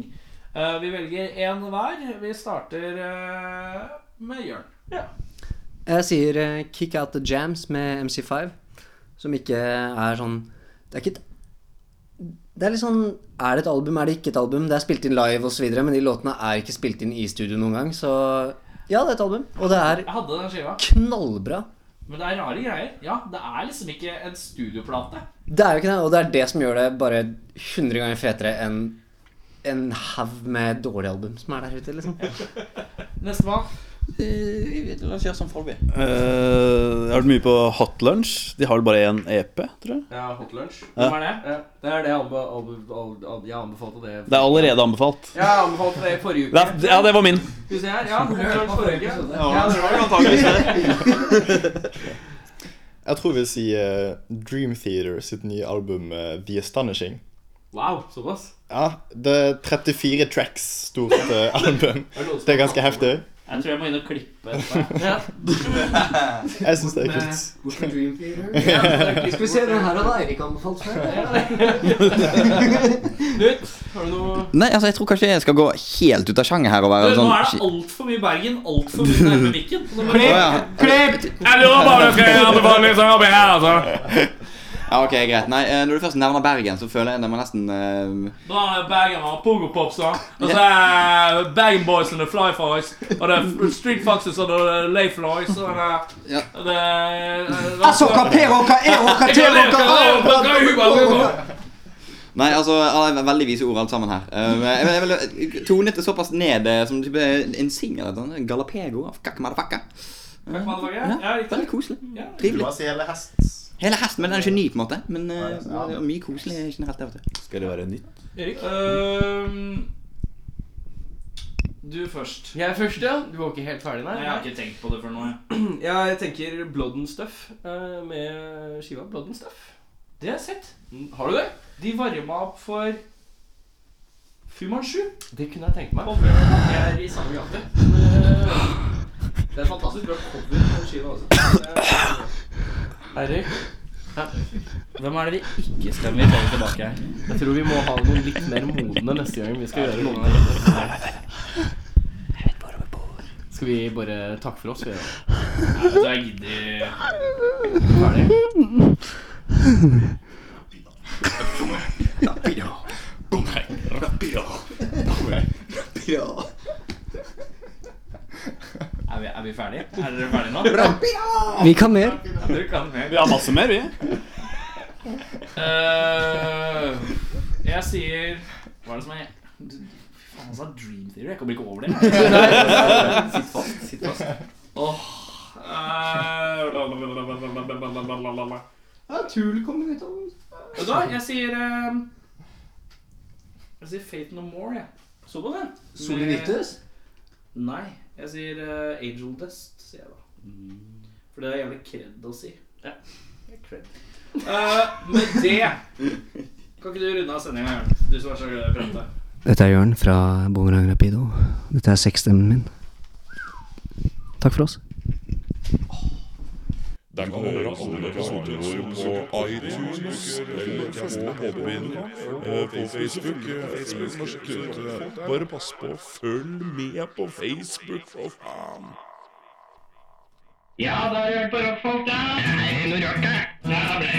Eh, vi velger én hver. Vi starter eh, med Jørn.
Jeg sier eh, Kick Out The Jams med MC5, som ikke er sånn Det er ikke et det er litt sånn Er det et album, er det ikke et album? Det er spilt inn live osv., men de låtene er ikke spilt inn i studio noen gang, så ja, det er et album. Og det er
Jeg hadde den skiva.
knallbra.
Men det er rare greier. Ja, det er liksom ikke en studioplate.
Det er jo ikke det, og det er det som gjør det bare 100 ganger fetere enn en haug med dårlige album som er der ute, liksom.
Nestemann.
La oss gjøre som Folby.
Eh, jeg har vært mye på Hot Lunch. De har vel bare én EP, tror jeg.
Ja, Hot Lunch.
Ja.
Hvem er det?
Ja, det er det jeg, anbe albe al al jeg anbefalte det.
Det er allerede anbefalt.
Ja, jeg anbefalte det i forrige uke.
Det er, ja, det var min.
Skal vi se her. Ja, Hot Lunch forrige uke.
Ja.
Ja, det var det.
Jeg tror vi sier eh, Dream Theater sitt nye album eh, The Astonishing.
Wow, såpass.
Ja, det er 34 tracks stort eh, album. Det er ganske heftig.
Jeg tror jeg må inn og klippe etterpå.
Ja.
Jeg syns det er kult.
Oslo Dream Theater.
Ja,
Skal vi se, den her hadde Eirik anbefalt
Knut, har du noe
Nei, altså, jeg tror kanskje jeg skal gå helt ut av sjanger her og
Du,
være
nå
sånn
er det altfor mye Bergen, altfor mye nærme mikken. Så nå må
Å,
du-
ja.
Jeg lurer bare på hva jeg anbefaler litt sånn oppi her, altså.
ja, ok, greit. Nei, eh, når du først nevner Bergen, så føler jeg det må nesten eh,
Da er Bergen har pogopopsa, og så er Bergen Boys and the Fly Flies, og det er Street Foxes og the Lay Flies, og det
Ja.
er det er-
Nei, altså, ja, det er veldig vise ord alt sammen her. Eh, jeg, vil- jeg, vil tone det såpass ned eh, som type en singel. Sånn, Galapego av Kakk Madafakka.
Ja, riktig.
Veldig koselig.
Ja.
Trivelig.
altså hele hest.
Hele hesten, men den er ikke ny, på en måte. Men eh,
Nei, ja.
det er mye koselig generelt. Det, vet du.
Skal det være nytt?
Erik? Øhm, Ehm, du først.
Jeg er først, ja. Du var ikke helt ferdig,
Nei,
nei?
Jeg har ikke tenkt på det før nå. jeg.
[CLEARS THROAT] Ja, jeg tenker Blood and Stuff eh, med skiva Blood and Stuff.
Det har jeg sett.
Mm, Har du det?
De varma opp for Fu Manchu.
Det kunne jeg tenkt meg.
Å,
Det er i samme gate. Men, eh, Det er fantastisk bra cover på den
altså.
skiva også.
Eirik? Hvem er det vi ikke stemmer i forhold tilbake her?
Jeg tror vi må ha noen litt mer modne neste gang vi skal gjøre noen av disse. Skal vi bare takke for oss? Vi, da?
Nei, vet du, Altså, jeg gidder
Ferdig?
Er vi, er vi ferdige? Er dere ferdige nå?
Vi kan mer.
Dere kan mer.
Vi har masse mer, vi.
Eh, jeg sier Hva er det som er Fy faen, han sa Dream Theory. Jeg kommer ikke
[LAUGHS]
over det.
Sitt fast. Sitt fast.
Åh, eh,
Ja, Tool kommer ut av
Vet du hva, jeg sier eh, Jeg sier Fate No More, jeg. Så på den. Nei. Jeg sier eh, Angel Dust, sier jeg da. For det er jævlig kred å si. Ja. Uh, med det Kan ikke du runde av sendinga, Jørn? Du som er så glad i å prate.
Dette er Jørn fra Bongerang Rapido. Dette er sexstemmen min. Takk for oss.
Der kan du høre alle episoder våre på iTunes, eller på Podbean, eh, på Facebook. eh, Facebook må sjekke ut det. Bare pass på, følg med på Facebook, for faen!
Ja, da har du hørt på rockfolk, da. Det er noe rart, det. Ja, det er